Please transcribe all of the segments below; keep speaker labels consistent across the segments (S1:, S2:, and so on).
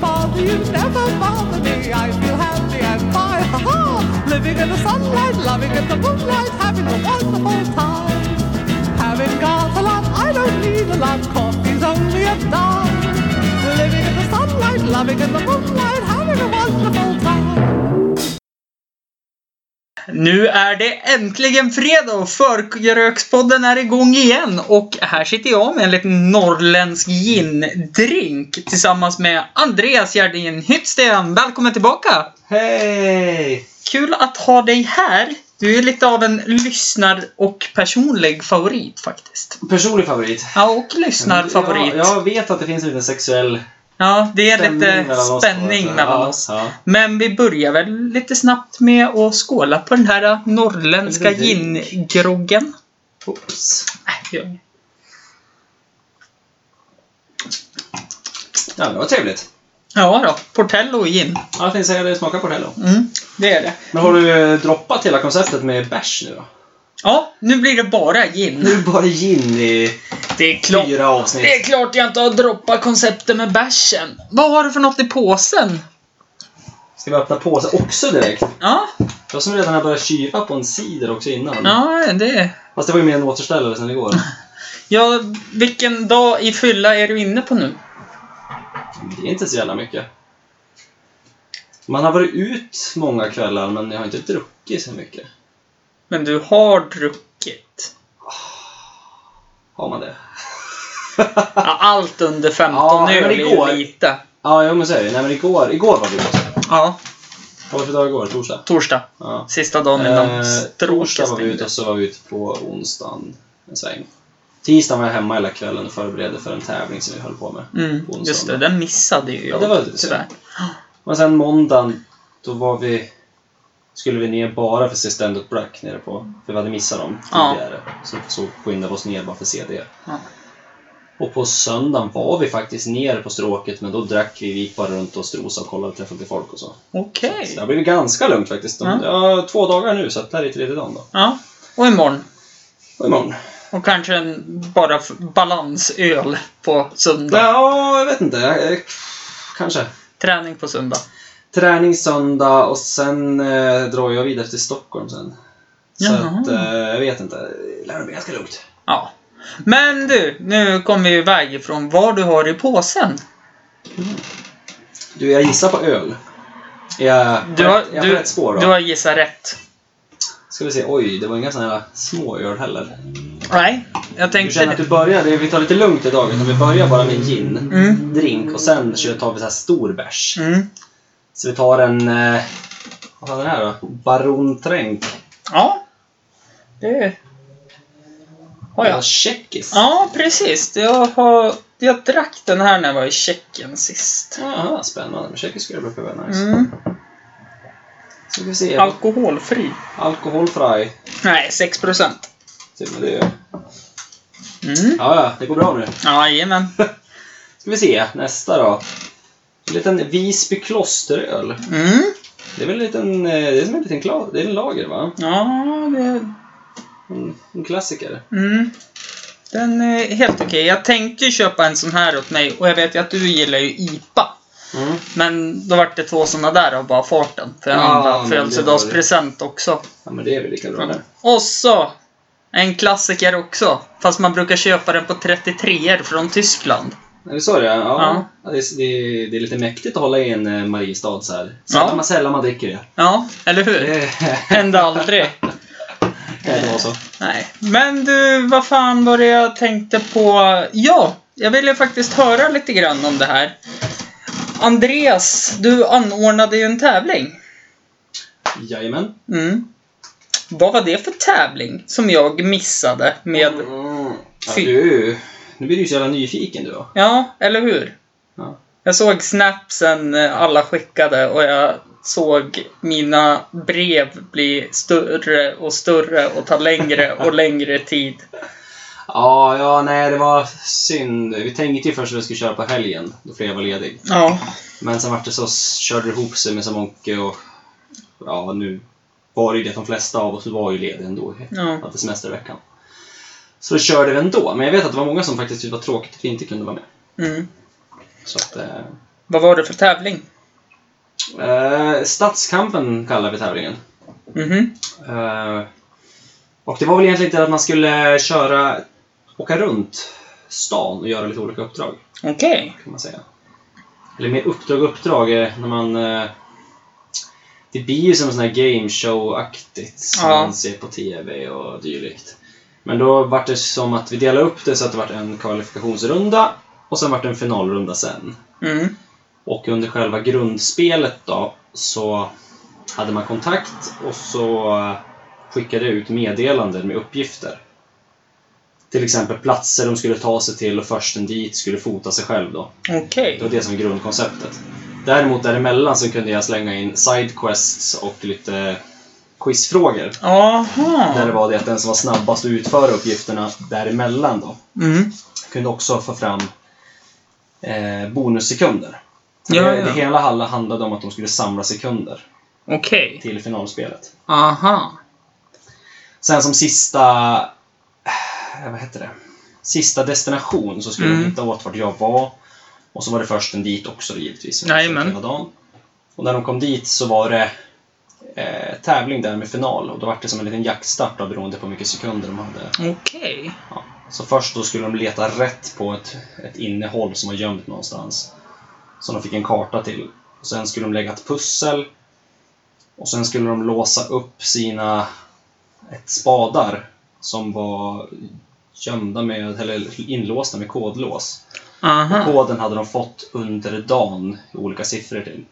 S1: Dreams never bother me. I feel happy and fine. Ha ha! Living in the sunlight, loving in the moonlight, having a wonderful time. Having got a lot, I don't need a lot. Coffee's only a dime. Living in the sunlight, loving in the moonlight, having a wonderful time.
S2: Nu är det äntligen fredag och Förrökspodden är igång igen. Och här sitter jag med en liten norrländsk gin-drink tillsammans med Andreas Gerdin Hyttsten. Välkommen tillbaka!
S3: Hej!
S2: Kul att ha dig här. Du är lite av en lyssnar och personlig favorit faktiskt.
S3: Personlig favorit.
S2: Ja, och lyssnarfavorit.
S3: Ja, jag vet att det finns en liten sexuell
S2: Ja, det är
S3: stämning
S2: lite
S3: mellan oss.
S2: spänning mellan
S3: ja,
S2: oss.
S3: Ja.
S2: Men vi börjar väl lite snabbt med att skåla på den här norrländska
S3: En liten drink.
S2: gingroggen.
S3: Oops.
S2: Nej,
S3: Ja, det var trevligt.
S2: Ja då, Portello och gin.
S3: Ja, jag tänkte säga det smakar på det här då.
S2: Mm, det är det.
S3: Men har du eh, droppat hela konceptet med bärs nu då?
S2: Ja, nu blir det bara
S3: Nu
S2: gin.
S3: är det bara gin i
S2: Det är klart,
S3: fyra avsnitt.
S2: det är klart jag inte har droppat konceptet med bärsen. Vad har du för något i påsen?
S3: Ska vi öppna påsen också direkt?
S2: Ja,
S3: Jag som redan har börjat kyla på en cider också innan.
S2: ja det...
S3: Fast det var ju mer en återställare sen igår.
S2: Ja, vilken dag i fylla är du inne på nu?
S3: Det är inte så jävla mycket. Man har varit ut många kvällar men jag har inte druckit så mycket.
S2: Men du har druckit.
S3: Har man det?
S2: Ja, allt under 15
S3: Ja,
S2: öl
S3: men
S2: är
S3: igår-
S2: ju lite.
S3: Ja, jo men så är det. Nej men igår, igår var vi ute.
S2: Ja,
S3: Vad var det för dag igår? Torsdag?
S2: torsdag.
S3: Ja.
S2: Sista dagen innan
S3: Eh,
S2: stråket
S3: torsdag var vi ute
S2: stängde.
S3: och så var vi ute på onsdagen en sväng. Tisdagen var jag hemma hela kvällen och förberedde för en tävling som vi höll på med.
S2: Mm,
S3: på onsdagen.
S2: just det, den missade ju jag
S3: det var det.
S2: tyvärr.
S3: Men sen måndagen, då var vi... Skulle vi ner bara för att se Stand Up Black nere på... För vi hade missat dem
S2: Ja.
S3: tidigare. Så, så skyndade vi oss ner bara för att se det.
S2: Ja.
S3: Och på söndagen var vi faktiskt nere på stråket, men då drack vi. Vi gick bara runt och strosade och kollade och träffade lite folk och så.
S2: Okej.
S3: Så det har blivit ganska lugnt faktiskt. De,
S2: Ja.
S3: ja, två dagar nu, så att det här är tredje dagen då.
S2: Ja, och imorgon.
S3: Och imorgon.
S2: Och kanske en bara f- balansöl på söndag.
S3: Ja, jag vet inte. Eh, Kanske.
S2: Träning på söndag.
S3: Träning söndag och sen eh, drar jag vidare till Stockholm sen. Så
S2: Jaha.
S3: att, eh, jag vet inte. Det lär bli ganska lugnt.
S2: Ja. Men du, nu kommer vi iväg ifrån vad du har i påsen.
S3: Du, jag gissar på öl. Är jag,
S2: Du
S3: är
S2: har,
S3: jag på
S2: du,
S3: rätt spår då?
S2: du har gissat rätt.
S3: Ska vi se. Oj, det var inga såna här små öl heller.
S2: Nej, jag
S3: Du
S2: tänkte...
S3: känner att du börjar, det- vi tar lite lugnt idag. Utan vi börjar bara med en gin,
S2: Mm.
S3: drink och sen kör- tar vi så här stor bärs.
S2: Mm.
S3: Så vi tar en... Eh, vad fan är det här då? Baron Tränk.
S2: Ja. Det... Har jag.
S3: Tjeckis.
S2: Ja, precis. Jag, har, jag drack den här när jag var i Tjeckien sist.
S3: Jaha, Ah, spännande. Men tjeckisk öl brukar vara nice.
S2: Mm.
S3: Ska vi se.
S2: Alkoholfri.
S3: Alkoholfri.
S2: Nej, 6 procent.
S3: Typ med det.
S2: Mm.
S3: Ja, ja, det går bra nu.
S2: Jajamän.
S3: Ska vi se, nästa då. En liten Visby klosteröl.
S2: Mm.
S3: Det är väl en liten, eh, det är som en liten kla, det är en lager va?
S2: Ja, det...
S3: En, en klassiker.
S2: Mm. Den är helt okej. Jag tänkte ju köpa en sån här åt mig och jag vet ju att du gillar ju IPA.
S3: Mm.
S2: Men då vart det två såna där av bara farten. För en
S3: Ja, men
S2: andra
S3: det
S2: födelsedagspresent också.
S3: Ja, men det är väl lika bra där.
S2: Och så! En klassiker också. Fast man brukar köpa den på 33 från Tyskland.
S3: Är det så det är?
S2: Ja.
S3: Ja. ja. Det, är, det, är, det är lite mäktigt att hålla i en eh, Mariestad så här. Sällan,
S2: Ja.
S3: man, sällan man dricker det.
S2: Ja, eller hur?
S3: Det
S2: Hände aldrig.
S3: kan inte vara så.
S2: Nej. Men du, vad fan var det jag tänkte på? Ja, jag ville faktiskt höra lite grann om det här. Andreas, du anordnade ju en tävling.
S3: Jajamän.
S2: Mm. Vad var det för tävling som jag missade med?
S3: Mm. Ja,
S2: Fy-
S3: du, nu blir du ju så jävla nyfiken du då.
S2: Ja, eller hur?
S3: Ja.
S2: Jag såg snapsen eh, alla skickade och jag såg mina brev bli större och större och ta längre och längre tid.
S3: Ja, ja, nej det var synd. Vi tänkte ju först att vi skulle köra på helgen, då Freja var ledig.
S2: Ja.
S3: Men sen vart det så s- körde det ihop sig med Samonke och ja, nu var det ju det att de flesta av oss var ju lediga ändå.
S2: Ja.
S3: Hade semester i veckan. Så då körde vi ändå. Men jag vet att det var många som faktiskt tyckte det var tråkigt att vi inte kunde vara med.
S2: Mm.
S3: Så att, eh,
S2: Vad Mm. var det för tävling?
S3: Eh, stadskampen kallar vi tävlingen.
S2: Mhm.
S3: Eh, och det var väl egentligen inte att man skulle köra, åka runt stan och göra lite olika uppdrag,
S2: Okej.
S3: kan man säga. Eller mer uppdrag uppdrag, eh, när man... Eh, det blir ju som en sån här gameshow-aktigt, som
S2: Ja.
S3: man ser på TV och dylikt. Men då vart det som att vi delade upp det så att det vart en kvalifikationsrunda och sen vart det en finalrunda sen.
S2: Mm.
S3: Och under själva grundspelet då så hade man kontakt och så eh, skickade jag ut meddelanden med uppgifter. Till exempel platser de skulle ta sig till och försten dit skulle fota sig själv då.
S2: Okej.
S3: Det var det som var grundkonceptet. Däremot däremellan så kunde jag slänga in sidequests och lite quizfrågor. Där det
S2: Jaha.
S3: var det att den som var snabbast att utföra uppgifterna däremellan då
S2: Mm.
S3: kunde också få fram eh, bonussekunder.
S2: Ja,
S3: det,
S2: ja.
S3: det hela halla handlade om att de skulle samla sekunder
S2: Okej.
S3: till finalspelet.
S2: Aha.
S3: Sen som sista... eh, Vad heter det? Sista destination så skulle
S2: Mm.
S3: de hitta åt vart jag var. Och så var det försten dit också givetvis. som jag
S2: Jajamän.
S3: försökte hela dagen. Och när de kom dit så var det eh, tävling där med final. Och då var det som en liten jaktstart då, beroende på hur mycket sekunder de hade.
S2: Okej.
S3: Ja. Så först då skulle de leta rätt på ett, ett innehåll som var gömt någonstans. Som de fick en karta till. Och sen skulle de lägga ett pussel. Och sen skulle de låsa upp sina ett spadar som var gömda med, eller inlåsta med kodlås.
S2: Aha.
S3: Koden hade de fått under dagen, i olika siffror till.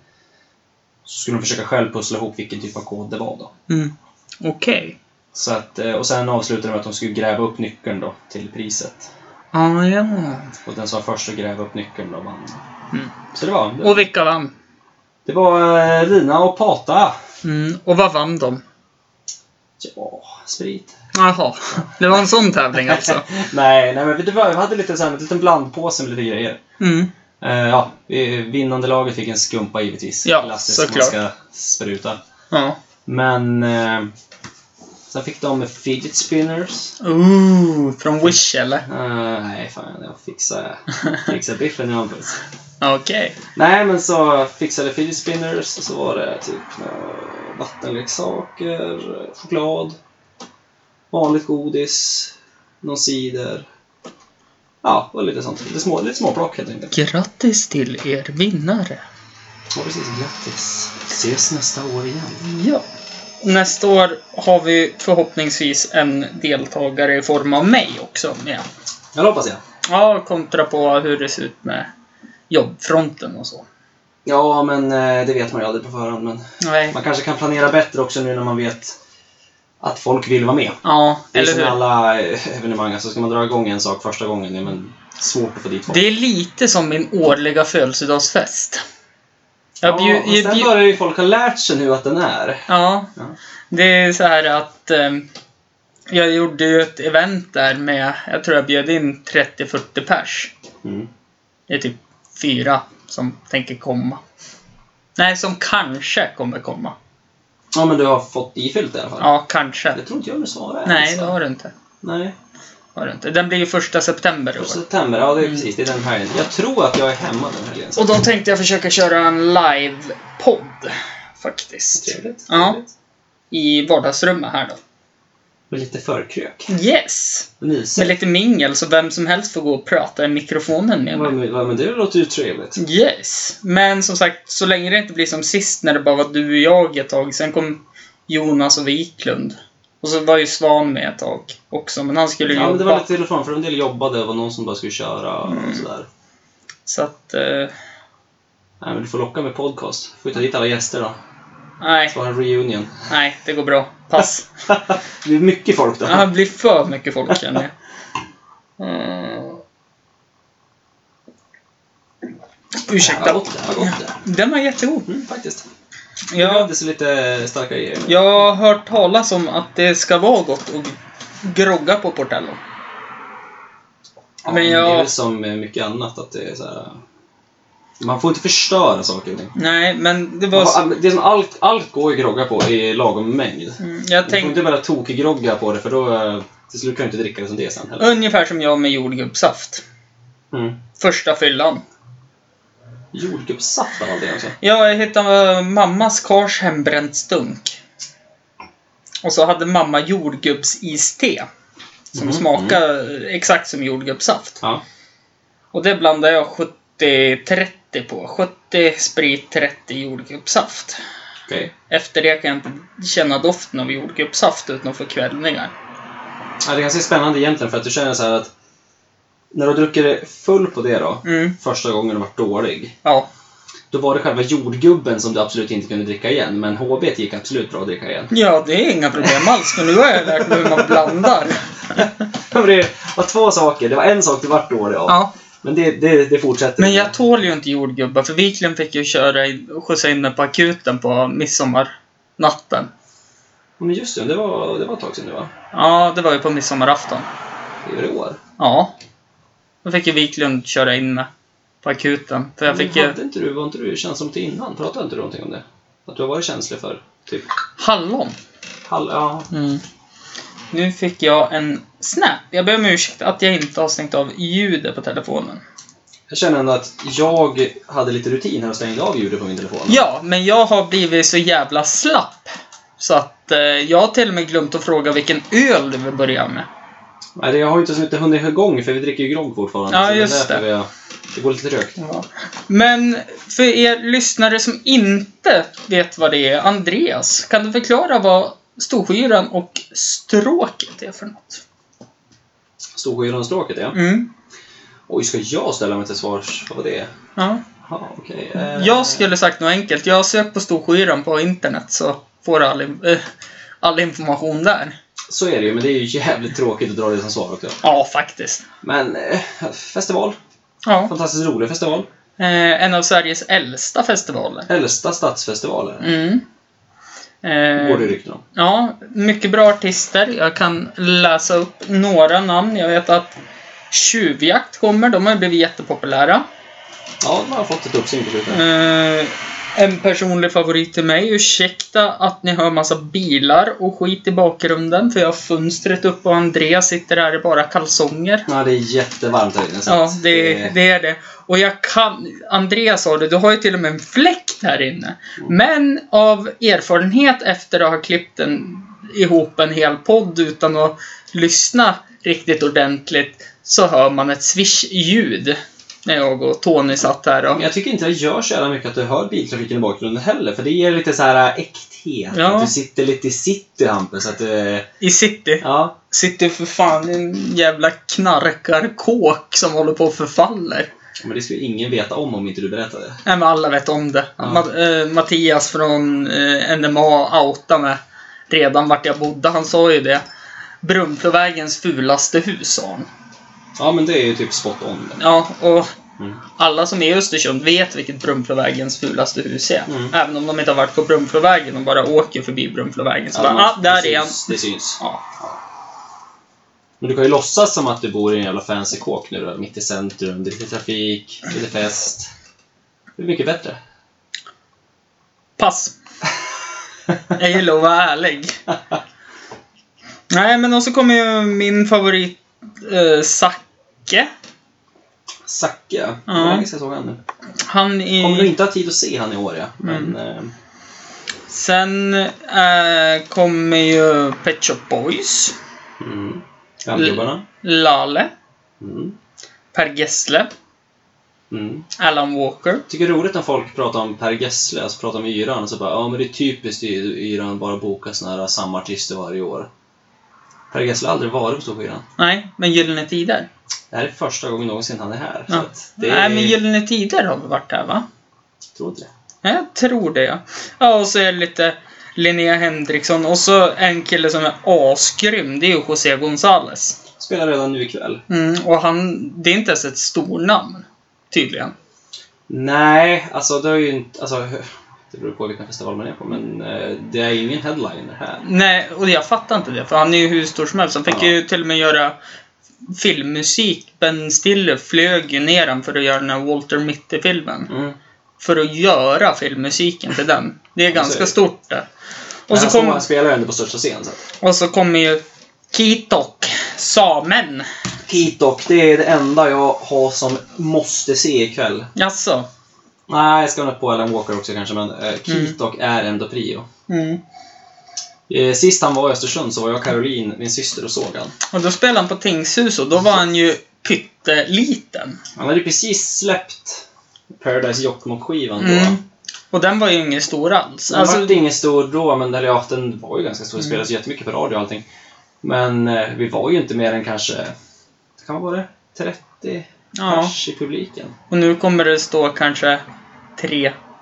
S3: Så skulle de försöka själv pussla ihop vilken typ av kod det var då.
S2: Mm. Okej.
S3: Så att, eh, och sen avslutade de med att de skulle gräva upp nyckeln då, till priset.
S2: Ah, ja.
S3: Och den som var först att gräva upp nyckeln då vann.
S2: Mm.
S3: Så det var. Det,
S2: Och vilka vann?
S3: det var eh, Lina och Pata.
S2: Mm. Och vad vann de?
S3: Ja, sprit.
S2: Jaha. Det var en sån tävling alltså.
S3: nej, nej, men det var, vi hade lite så här, en liten blandpåse med lite grejer.
S2: Mm.
S3: Eh, ja, vi- vinnande laget fick en skumpa givetvis.
S2: Ja,
S3: Klassiskt
S2: såklart.
S3: som man ska spruta.
S2: Ja.
S3: Men eh, sen fick de fidget spinners.
S2: Ooh, från Wish eller?
S3: Eh, nej, fan jag fixar, fixar biffen i Hampus.
S2: Okej.
S3: Nej, men så fixade fidget spinners och så var det typ eh, vattenleksaker, choklad, vanligt godis, någon cider. Ja, och lite sånt. Lite, små, lite småplock helt enkelt.
S2: Grattis till er vinnare.
S3: Ja, precis. Grattis. Ses nästa år igen.
S2: Ja. Nästa år har vi förhoppningsvis en deltagare i form av mig också med.
S3: Ja, det hoppas jag.
S2: Ja, kontra på hur det ser ut med jobbfronten och så.
S3: Ja, men eh, det vet man ju aldrig på förhand. Men
S2: Nej.
S3: man kanske kan planera bättre också nu när man vet att folk vill vara med.
S2: Ja,
S3: Det är
S2: eller
S3: som
S2: hur?
S3: alla eh, evenemang, alltså ska man dra igång en sak första gången, ja, men svårt att få dit folk.
S2: Det är lite som min årliga födelsedagsfest. Jag bjud,
S3: ja, och
S2: jag
S3: sen
S2: bjud,
S3: börjar ju folk ha lärt sig nu att den är.
S2: ja,
S3: Ja.
S2: det är så här att ehm, jag gjorde ju ett event där med, jag tror jag bjöd in 30-40 pers.
S3: Mm.
S2: Det är typ fyra som tänker komma. Nej, som kanske kommer komma.
S3: ja, men du har fått ifyllt i alla fall.
S2: Ja, kanske.
S3: Det tror inte jag du svarade. ens,
S2: Nej, det
S3: va?
S2: har du inte.
S3: Nej.
S2: Har du inte. Den blir ju första september i år.
S3: September, ja det är precis, det är den helgen. Jag tror att jag är hemma den helgen. så
S2: Mm. Och då tänkte jag försöka köra en live-podd. Faktiskt.
S3: Trevligt.
S2: Ja.
S3: trevligt.
S2: I vardagsrummet här då.
S3: Och lite förkrök.
S2: Yes! Med
S3: Mysigt.
S2: lite mingel så vem som helst får gå och prata i mikrofonen med
S3: Ja,
S2: mig.
S3: men, ja, men det låter ju trevligt.
S2: Mm. Yes! Men som sagt, så länge det inte blir som sist när det bara var du och jag ett tag. Sen kom Jonas och Wiklund. Och så var ju Svan med ett tag också, men han skulle
S3: Ja, men det
S2: jobba.
S3: var lite till och från, för en del jobbade och var någon som bara skulle köra och
S2: Mm.
S3: sådär.
S2: Så att... eh,
S3: Nej, men du får locka med podcast. Får ju ta dit alla gäster då.
S2: nej,
S3: Så har en reunion.
S2: nej, det går bra. Pass.
S3: det blir mycket folk då.
S2: Ja, det blir för mycket folk känner jag. Mm.
S3: Det har
S2: Ursäkta.
S3: gått det, har gått det.
S2: Den var jättegod.
S3: Mm, faktiskt. Jag
S2: Jag,
S3: behövdes lite starkare grejer.
S2: jag har hört talas om att det ska vara gott och grogga på Portello.
S3: Ja,
S2: Men
S3: Det är
S2: jag...
S3: väl som med mycket annat att det är så här. Man får inte förstöra saker och ting.
S2: Nej, men det var...
S3: Man
S2: så-
S3: får- Det är som allt, allt går att grogga på i lagom mängd.
S2: Mm, Jag
S3: Du får
S2: tänkte
S3: inte bara tokgrogga på det för då eh, till slut kan du inte dricka det som det är sen heller.
S2: ungefär som jag med jordgubbssaft.
S3: Mm.
S2: Första fyllan.
S3: Jordgubbssaft var det alltså.
S2: Ja, jag hittade eh, mammas kars hembränt stunk. Och så hade mamma jordgubbsiste. Som
S3: Mhm.
S2: smakade exakt som jordgubbssaft.
S3: Ja.
S2: Och det blandade jag 70-30 på. 70 sprit, 30 jordgubbssaft.
S3: Okej.
S2: Efter det kan jag inte känna doften av jordgubbssaft utan att få kvällningar.
S3: Ja, det är ganska spännande egentligen för att du känner så här att när du har druckit dig full på det då,
S2: Mm,
S3: första gången du varit dålig,
S2: ja.
S3: då var det själva jordgubben som du absolut inte kunde dricka igen, men HB gick absolut bra att dricka igen.
S2: Ja, det är inga problem alls. För nu har jag lärt mig hur man blandar.
S3: Men Det var två saker. Det var en sak du vart dålig av,
S2: Ja.
S3: men det, det, det fortsätter.
S2: Men jag tål ju inte jordgubbar, för Wiklund fick ju köra in, skjutsa in mig på akuten på midsommarnatten.
S3: Ja, Men just det, det var, det var ett tag sedan nu va?
S2: Ja, det var ju på midsommarafton.
S3: Det är ju i år.
S2: Ja. Då fick ju Wiklund köra in mig på akuten. För jag fick
S3: Men
S2: ju...
S3: hade inte du, var inte du känslig mot det innan? Pratade inte du någonting om det? Att du har varit känslig för typ
S2: Hallon.
S3: hall... Ja,
S2: Mm. Nu fick jag en snap. Jag ber om ursäkt att jag inte har stängt av ljudet på telefonen.
S3: Jag känner ändå att jag hade lite rutin här och stängde av ljudet på min telefon.
S2: Ja, men jag har blivit så jävla slapp. Så att eh, jag har till och med glömt att fråga vilken öl du vill börja med.
S3: Nej, det- jag har ju inte, så inte hunnit igång för vi dricker ju grogg fortfarande.
S2: Ja,
S3: så är
S2: just
S3: därför
S2: det.
S3: vi har- det går lite trögt.
S2: Men för er lyssnare som inte vet vad det är, Andreas, kan du förklara vad Storsjöyran och Stråket är för något?
S3: Storsjögrönstråket, ja.
S2: Mm.
S3: Oj, ska jag ställa mig till svars för vad det är?
S2: Ja.
S3: Jaha, okej. eh,
S2: Jag skulle sagt något enkelt. Jag har sökt på Storsjöyran på internet så får all, in- eh, all information där.
S3: Så är det ju, men det är ju jävligt tråkigt att dra det som svar också.
S2: Ja, faktiskt.
S3: Men eh, festival.
S2: Ja.
S3: Fantastiskt rolig festival.
S2: Eh, en av Sveriges äldsta festivaler.
S3: Äldsta stadsfestivalen.
S2: Mm.
S3: Går det
S2: Eh,
S3: rykten om.
S2: ja, mycket bra artister. Jag kan läsa upp några namn. Jag vet att Tjuvjakt kommer. De har ju blivit jättepopulära.
S3: Ja, man har fått ett uppsyn på slutet.
S2: Eh, en personlig favorit till mig. Ursäkta att ni hör massa bilar och skit i bakgrunden för jag har fönstret upp och Andreas sitter här i bara kalsonger.
S3: Ja, det är jättevarmt här inne. så
S2: Ja,
S3: att
S2: det, det är det. Och jag kan... Andreas sa det, du har ju till och med en fläkt här inne. Men av erfarenhet efter att ha klippt en, ihop en hel podd utan att lyssna riktigt ordentligt så hör man ett swish-ljud. När jag och Tony satt här och
S3: Men Jag tycker inte det gör så jävla mycket att du hör biltrafiken i bakgrunden heller, för det ger lite så här äh, äkthet.
S2: Ja.
S3: Att du sitter lite i city, Hampus. Att, eh,
S2: i city.
S3: ja.
S2: sitter för fan i en jävla knarkarkåk som håller på och förfaller.
S3: Men det skulle ingen veta om om inte du berättade.
S2: Nej, men alla vet om det.
S3: Ja.
S2: Ma- eh, Mattias från eh, NMA outade mig redan vart jag bodde. Han sa ju det. Brunflovägens fulaste hus, sa han.
S3: Ja, men det är ju typ spot on. där.
S2: Ja, och
S3: Mm.
S2: alla som är i Östersund vet vilket Brunflovägens fulaste hus är.
S3: Mm.
S2: Även om de inte har varit på Brunflovägen och bara åker förbi Brunflovägen. Så bara, ah, där
S3: det
S2: är han.
S3: syns, det syns.
S2: Ja.
S3: Men du kan ju låtsas som att du bor i en jävla fancy kåk nu då, mitt i centrum, det är lite trafik, lite fest. Det är mycket bättre.
S2: Pass. Jag gillar att vara ärlig. Nej, men och så kommer ju min favorit eh, Zacke.
S3: Zacke. Det
S2: Ja.
S3: var länge sedan jag såg han nu.
S2: Han
S3: Kommer du
S2: är...
S3: inte ha tid att se han i år, ja.
S2: Mm.
S3: Men, eh,
S2: Sen eh, kommer ju Pet Shop Boys.
S3: mm. Gammelgubbarna.
S2: Lale.
S3: Mm.
S2: Per Gessle.
S3: Mm.
S2: Alan Walker.
S3: tycker det är roligt när folk pratar om Per Gessle, alltså pratar om Yran, och så bara ja men det är typiskt i- Yran att bara boka såna här samma artister varje år. Per Gessle har aldrig varit på Storsjöyran.
S2: Nej, men Gyllene Tider.
S3: Det här är första gången någonsin han är här. Så
S2: Ja.
S3: att det
S2: Nej, men
S3: jag
S2: Gyllene Tider har vi varit där, va?
S3: tror inte det.
S2: Ja, Jag tror det, ja. Ja, och så är det lite Linnea Henriksson. Och så en kille som är asgrym. Det är ju José González.
S3: Spelar redan nu ikväll.
S2: Mm, och han, det är inte ens ett stornamn. Tydligen.
S3: Nej, alltså det är ju inte... Alltså, det beror på vilken festival man är på, men eh, det är ingen headliner här.
S2: Nej, och jag fattar inte det. För han är ju hur stor som helst. Han fick
S3: Ja.
S2: ju till och med göra filmmusik. Ben Stiller flög ju ner han för att göra den här Walter Mitty-filmen.
S3: Mm.
S2: För att göra filmmusiken till den. Det är
S3: så är
S2: ganska
S3: det.
S2: stort det.
S3: Och
S2: Och så, kom,
S3: Han spelar ju ändå på största scen. Så. att-
S2: och så kommer ju Kitok, samen.
S3: Kitok, det är det enda jag har som måste se ikväll.
S2: Jaså?
S3: Nej, jag ska nog på Alan Walker också kanske, men eh, Kitok är ändå prio.
S2: Mm.
S3: Eh, sist han var i Östersund så var jag och Caroline, min syster, och såg han.
S2: Och då spelade han på Tingshus och då var han ju pytteliten.
S3: Han hade precis släppt Paradise Jokkmokk-skivan då.
S2: Mm. Och den var ju ingen stor alls.
S3: Den alltså,
S2: Alltså, Mm.
S3: var ingen stor då, men eller, ja, den var ju ganska stor. Det spelades jättemycket på radio och allting. Men eh, vi var ju inte mer än kanske, kan vara det, 30
S2: ja.
S3: pers i publiken.
S2: Och nu kommer det stå kanske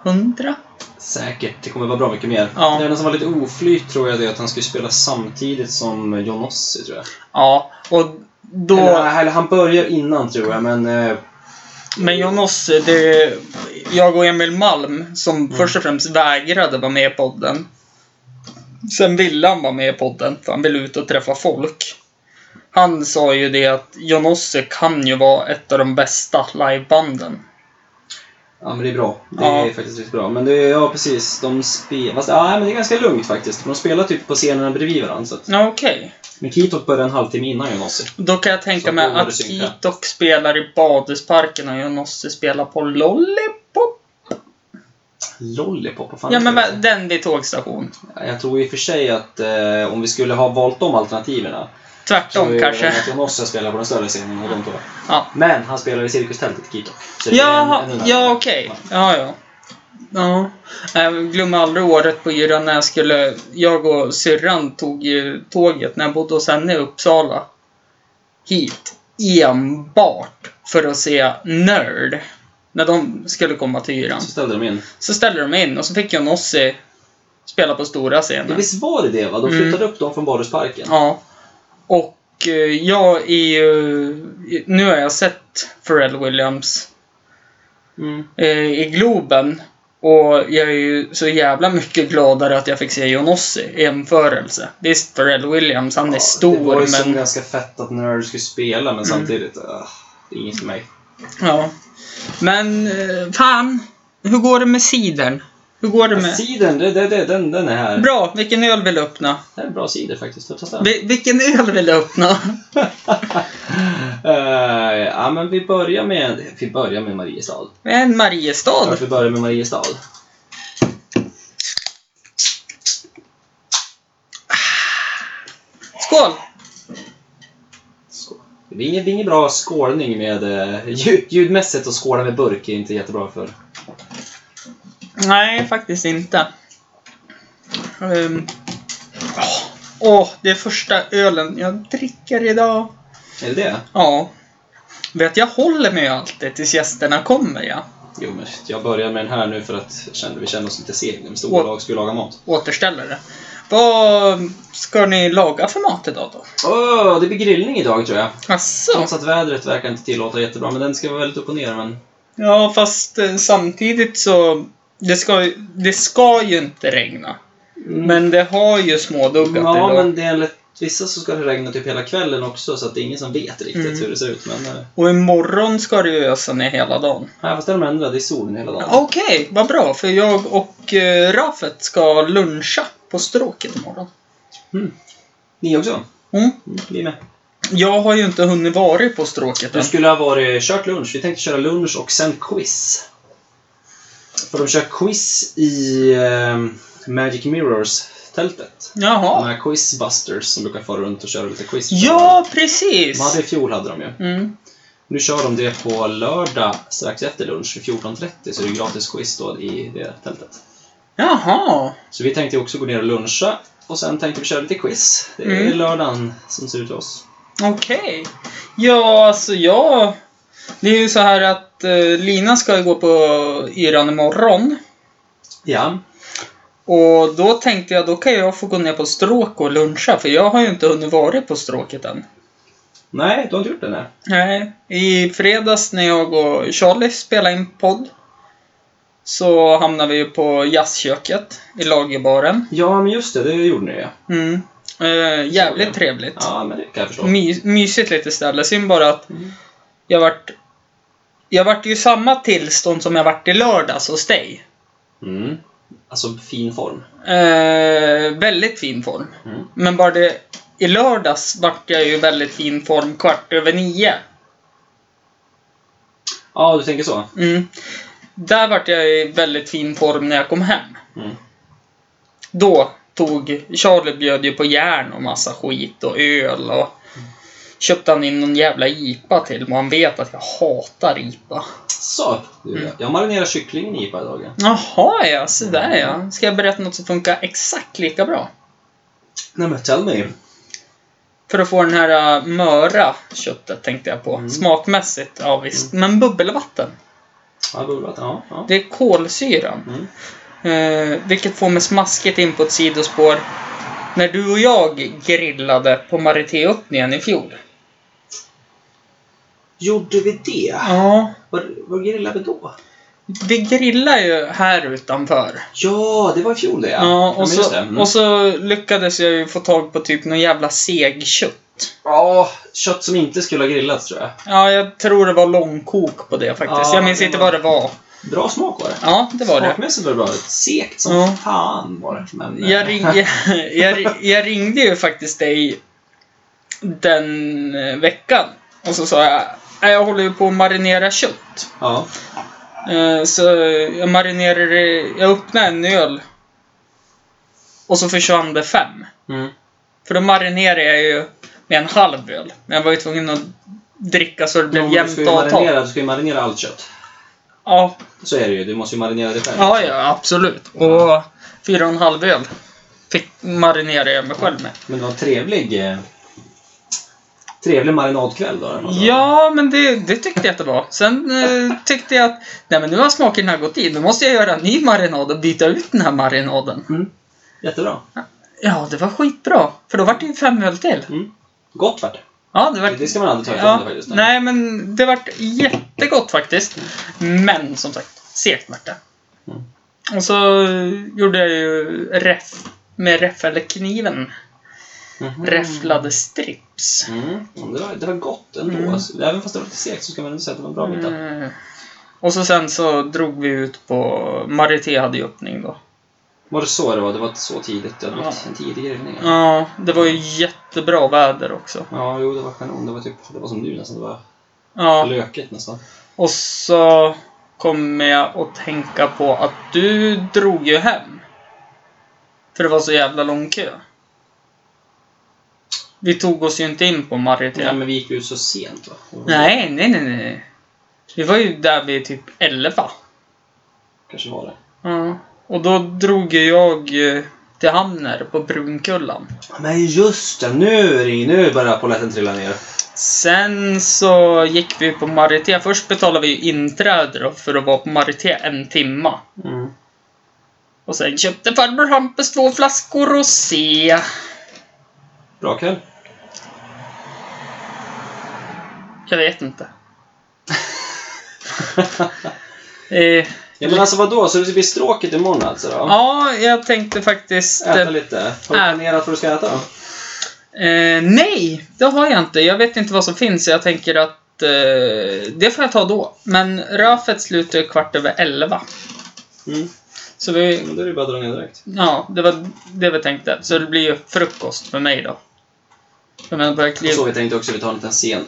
S2: 300?
S3: Säkert, det kommer vara bra mycket mer.
S2: Ja.
S3: Det enda som var lite oflyt tror jag det är att han skulle spela samtidigt som John Ossie tror jag.
S2: Ja, och då...
S3: Eller, eller han börjar innan tror jag, men eh,
S2: Men Jonas, det är jag och Emil Malm som
S3: Mm.
S2: först och främst vägrade vara med i podden. Sen ville han vara med i podden, för han ville ut och träffa folk. Han sa ju det att Jonosse kan ju vara ett av de bästa livebanden.
S3: Ja men det är bra. Det
S2: Ja.
S3: är faktiskt riktigt bra. Men det är, ja precis, de spelar... Fast ja, men det är ganska lugnt faktiskt. för De spelar typ på scenerna bredvid varandra. Så att,
S2: Ja, Okej.
S3: men Kitok börjar en halvtimme innan Jonossi.
S2: Då kan jag tänka
S3: Så
S2: mig
S3: då var det
S2: att
S3: synka.
S2: Kitok spelar i Badhusparken och Jonosse spelar på Lollipop.
S3: Lollipop, vad fan
S2: Ja,
S3: är
S2: men
S3: det?
S2: va- den vid tågstation.
S3: Jag tror i och för sig att eh, om vi skulle ha valt de alternativen så
S2: Tvärtom
S3: är det
S2: kanske.
S3: att Jonossi spelar på den större scenen och de två.
S2: Ja.
S3: Men han spelar i Cirkustältet, Kitok. Så det är
S2: Ja,
S3: en- en- en-
S2: ja okej. Ja, ja. Ja. Jag glömmer aldrig året på Yran när jag skulle... Jag och syrran tog ju tåget när jag bodde hos henne i Uppsala. Hit. Enbart för att se Nerd. När de skulle komma till Yran.
S3: Så ställde de in.
S2: Så ställde de in och så fick jag Nossi spela på stora
S3: Ja,
S2: scenen.
S3: visst var det det va? De flyttade upp dem från Badhusparken.
S2: Mm. Ja. Och eh, jag är ju... Nu har jag sett Pharrell Williams
S3: Mm.
S2: eh, i Globen. Och jag är ju så jävla mycket gladare att jag fick se Jonossi i jämförelse. Visst, Pharrell Williams, han är
S3: det var
S2: stor
S3: ju som
S2: men... Mm.
S3: ganska fett att Nerd skulle spela, men samtidigt... ah, inget för mig.
S2: Ja. Men, eh, fan. Hur går det med sidern? Hur går det med...
S3: Sidan, det, det, det, den, den är här.
S2: Bra, vilken öl vill du öppna?
S3: Det här är en bra cider faktiskt. Får jag testa?
S2: Vi, vilken öl vill du öppna?
S3: Eh, ja, men vi börjar med, vi börjar med Mariestad.
S2: En
S3: Ja,
S2: Mariestad.
S3: vi börjar med Mariestad.
S2: Skål!
S3: Skål. Det är ingen, det är ingen bra skålning med eh, ljud, ljudmässigt att skåla med burk är inte jättebra för.
S2: Nej, faktiskt inte. Ehm. Åh, åh, det är första ölen jag dricker idag.
S3: Är det det?
S2: Ja. Vet, jag håller mig ju alltid tills gästerna kommer, ja.
S3: Jo, men jag börjar med den här nu för att jag kände, vi kände oss lite sega med stora
S2: Åh.
S3: lag skulle laga mat.
S2: Återställare. Vad ska ni laga för mat idag då?
S3: Åh, det blir grillning idag tror jag.
S2: Asså?
S3: Trots att vädret verkar inte tillåta jättebra, men den ska vara väldigt upp och ner. Men
S2: Ja, fast eh, samtidigt så... Det ska, ju- det ska ju inte regna. Men det har ju småduggat
S3: Mm. Ja,
S2: idag.
S3: men det är enligt vissa så ska det regna typ hela kvällen också, så att det är ingen som vet riktigt
S2: Mm.
S3: hur det ser ut. Men eh,
S2: Och imorgon ska det ju ösa ner hela dagen.
S3: här fast det är de ändra, det är solen hela dagen.
S2: Okej, vad bra. För jag och eh, Rafet ska luncha på Stråket imorgon.
S3: Ni också?
S2: Mm.
S3: Mm, vi är med.
S2: Jag har ju inte hunnit vara på Stråket
S3: Du
S2: än.
S3: skulle ha varit, kört lunch. Vi tänkte köra lunch och sen quiz. För de kör quiz i eh, Magic Mirrors-tältet. De
S2: Jaha.
S3: här quizbusters som brukar fara runt och köra lite quiz.
S2: Ja, precis!
S3: De hade i fjol hade de ju.
S2: Mm.
S3: Nu kör de det på lördag strax efter lunch vid 14.30 så det är gratis quiz då i det tältet.
S2: Jaha.
S3: Så vi tänkte också gå ner och luncha och sen tänkte vi köra lite quiz. Det är
S2: Mm.
S3: lördagen som ser ut till oss.
S2: Okej. Ja, alltså jag... Det är ju så här att eh, Lina ska ju gå på yran imorgon.
S3: Ja.
S2: Och då tänkte jag, då kan jag få gå ner på stråk och luncha, för jag har ju inte hunnit vara på stråket än.
S3: Nej, du har inte gjort det? Nej.
S2: Nej, i fredags när jag och Charlie spelade in podd så hamnade vi ju på jazzköket i lagerbaren.
S3: Ja, men just det. Det gjorde ni ju.
S2: Mm. Eh, jävligt trevligt.
S3: Ja, men det kan jag förstå.
S2: My, mysigt lite ställe. Synd bara att
S3: Mm.
S2: jag vart... Jag vart ju i samma tillstånd som jag vart i lördags hos dig.
S3: Mm. Alltså, fin form.
S2: Eh, väldigt fin form.
S3: Mm.
S2: Men bara det... I lördags vart jag ju i väldigt fin form kvart över nio.
S3: Ja, du tänker så?
S2: Mm. Där vart jag i väldigt fin form när jag kom hem.
S3: Mm.
S2: Då tog... Charlie bjöd ju på järn och massa skit och öl och...
S3: Mm.
S2: Köpte han in någon jävla IPA till mig och han vet att jag hatar IPA.
S3: Så! du,
S2: Mm.
S3: Jag marinerar kycklingen i IPA idag. ja.
S2: Jaha ja, så där ja. Ska jag berätta något som funkar exakt lika bra?
S3: Nej men tell me.
S2: För att få den här äh, möra köttet tänkte jag på.
S3: Mm.
S2: Smakmässigt, ja visst. Men bubbelvatten.
S3: Ja, bubblat. Ja, ja.
S2: Det är kolsyran.
S3: Mm.
S2: Eh, vilket får mig smaskigt in på ett sidospår. När du och jag grillade på Maritéöppningen i fjol.
S3: Gjorde vi det?
S2: Ja.
S3: Var, var grillade vi då?
S2: Vi grillar ju här utanför.
S3: Ja, det var i fjol det
S2: Ja,
S3: men
S2: och,
S3: just
S2: så,
S3: det. Mm.
S2: och så lyckades jag ju få tag på typ någon jävla segkött.
S3: Ja, kött som inte skulle ha grillats tror jag.
S2: Ja, jag tror det var långkok på det faktiskt.
S3: Ja,
S2: jag minns
S3: det
S2: inte
S3: var-
S2: vad det var.
S3: Bra smak var det.
S2: Ja, det var det.
S3: Smakmässigt var det bra. Sekt som
S2: Ja.
S3: fan var det. Men,
S2: Jag, ring, jag, ri- jag ringde ju faktiskt dig den eh, veckan. Och så sa jag, "Nej, jag håller ju på att marinera kött.
S3: Ja.
S2: Eh, Så jag marinerade, jag öppnade en öl. Och så försvann det fem.
S3: Mm.
S2: För då marinerade jag ju med en halv öl. Men jag var ju tvungen att dricka så det
S3: Men
S2: blev
S3: om du
S2: jämnt
S3: ska ju
S2: avtal.
S3: marinera, du ska ju marinera allt kött.
S2: Ja,
S3: Så är det ju. Du måste ju marinera det själv.
S2: ja, ja, absolut. Och fyra och en halv öl fick marinera jag mig själv med.
S3: Men det var en trevlig, eh, trevlig marinadkväll då. eller vad det var.
S2: Ja, men det, det tyckte jag att det var. Sen eh, tyckte jag att nej, men nu har smakerna gått in. Nu måste jag göra en ny marinad och byta ut den här marinaden.
S3: Mm. Jättebra.
S2: Ja, det var skitbra. För då vart det ju fem öl till.
S3: Mm. Gott vart det.
S2: Ja, det vart...
S3: Det ska man aldrig ta ifrån
S2: ja,
S3: det faktiskt.
S2: Nej, men det vart jättegott faktiskt. Men som sagt, segt vart det.
S3: Mm.
S2: Och så gjorde jag ju räff med räffelkniven.
S3: Mhm.
S2: Räfflade strips.
S3: Mm. Ja, Det, var, det var gott ändå.
S2: Mm.
S3: Alltså, även fast det var lite segt så ska man ändå säga att det var en bra bitar.
S2: Mm. Och så sen så drog vi ut på... Marité hade ju öppning då.
S3: Var det så det var? Det var så tidigt? Det var
S2: Ja.
S3: en tidig grillning? Ja.
S2: Ja, det var ju jättebra väder också.
S3: ja, jo det var kanon. Det var typ, det var som nu nästan. Det var
S2: Ja,
S3: löket nästan.
S2: och så kommer jag att tänka på att du drog ju hem. För det var så jävla lång kö. Vi tog oss ju inte in på Marieté.
S3: Ja, men vi gick ut så sent va? Det var-
S2: Nej, nej, nej, nej. Vi var ju där vid typ 11.
S3: Kanske var det.
S2: Ja. Och då drog ju jag eh, till Hamner på Brunkullan.
S3: Men just det! Nu ring, Nu börjar polletten trilla ner.
S2: Sen så gick vi på Marité. Först betalade vi ju inträde då för att vara på Marité en timma.
S3: Mm.
S2: Och sen köpte farbror Hampus två flaskor rosé.
S3: Bra kväll.
S2: Jag vet inte. Eh,
S3: ja, men alltså vadå? Så det blir stråket imorgon alltså då?
S2: ja, jag tänkte faktiskt...
S3: Äta
S2: Eh,
S3: lite. Har du
S2: Ä-
S3: planerat vad du ska äta då?
S2: eh, nej, det har jag inte. Jag vet inte vad som finns. så Jag tänker att eh, det får jag ta då. Men röfet slutar kvart över elva.
S3: Mm.
S2: Så vi,
S3: Då är det bara att dra ner direkt.
S2: Ja, det var det vi tänkte. Så det blir ju frukost för mig då. Jag menar, jag
S3: Det var så
S2: kliver,
S3: vi tänkte också. Vi tar en liten sen,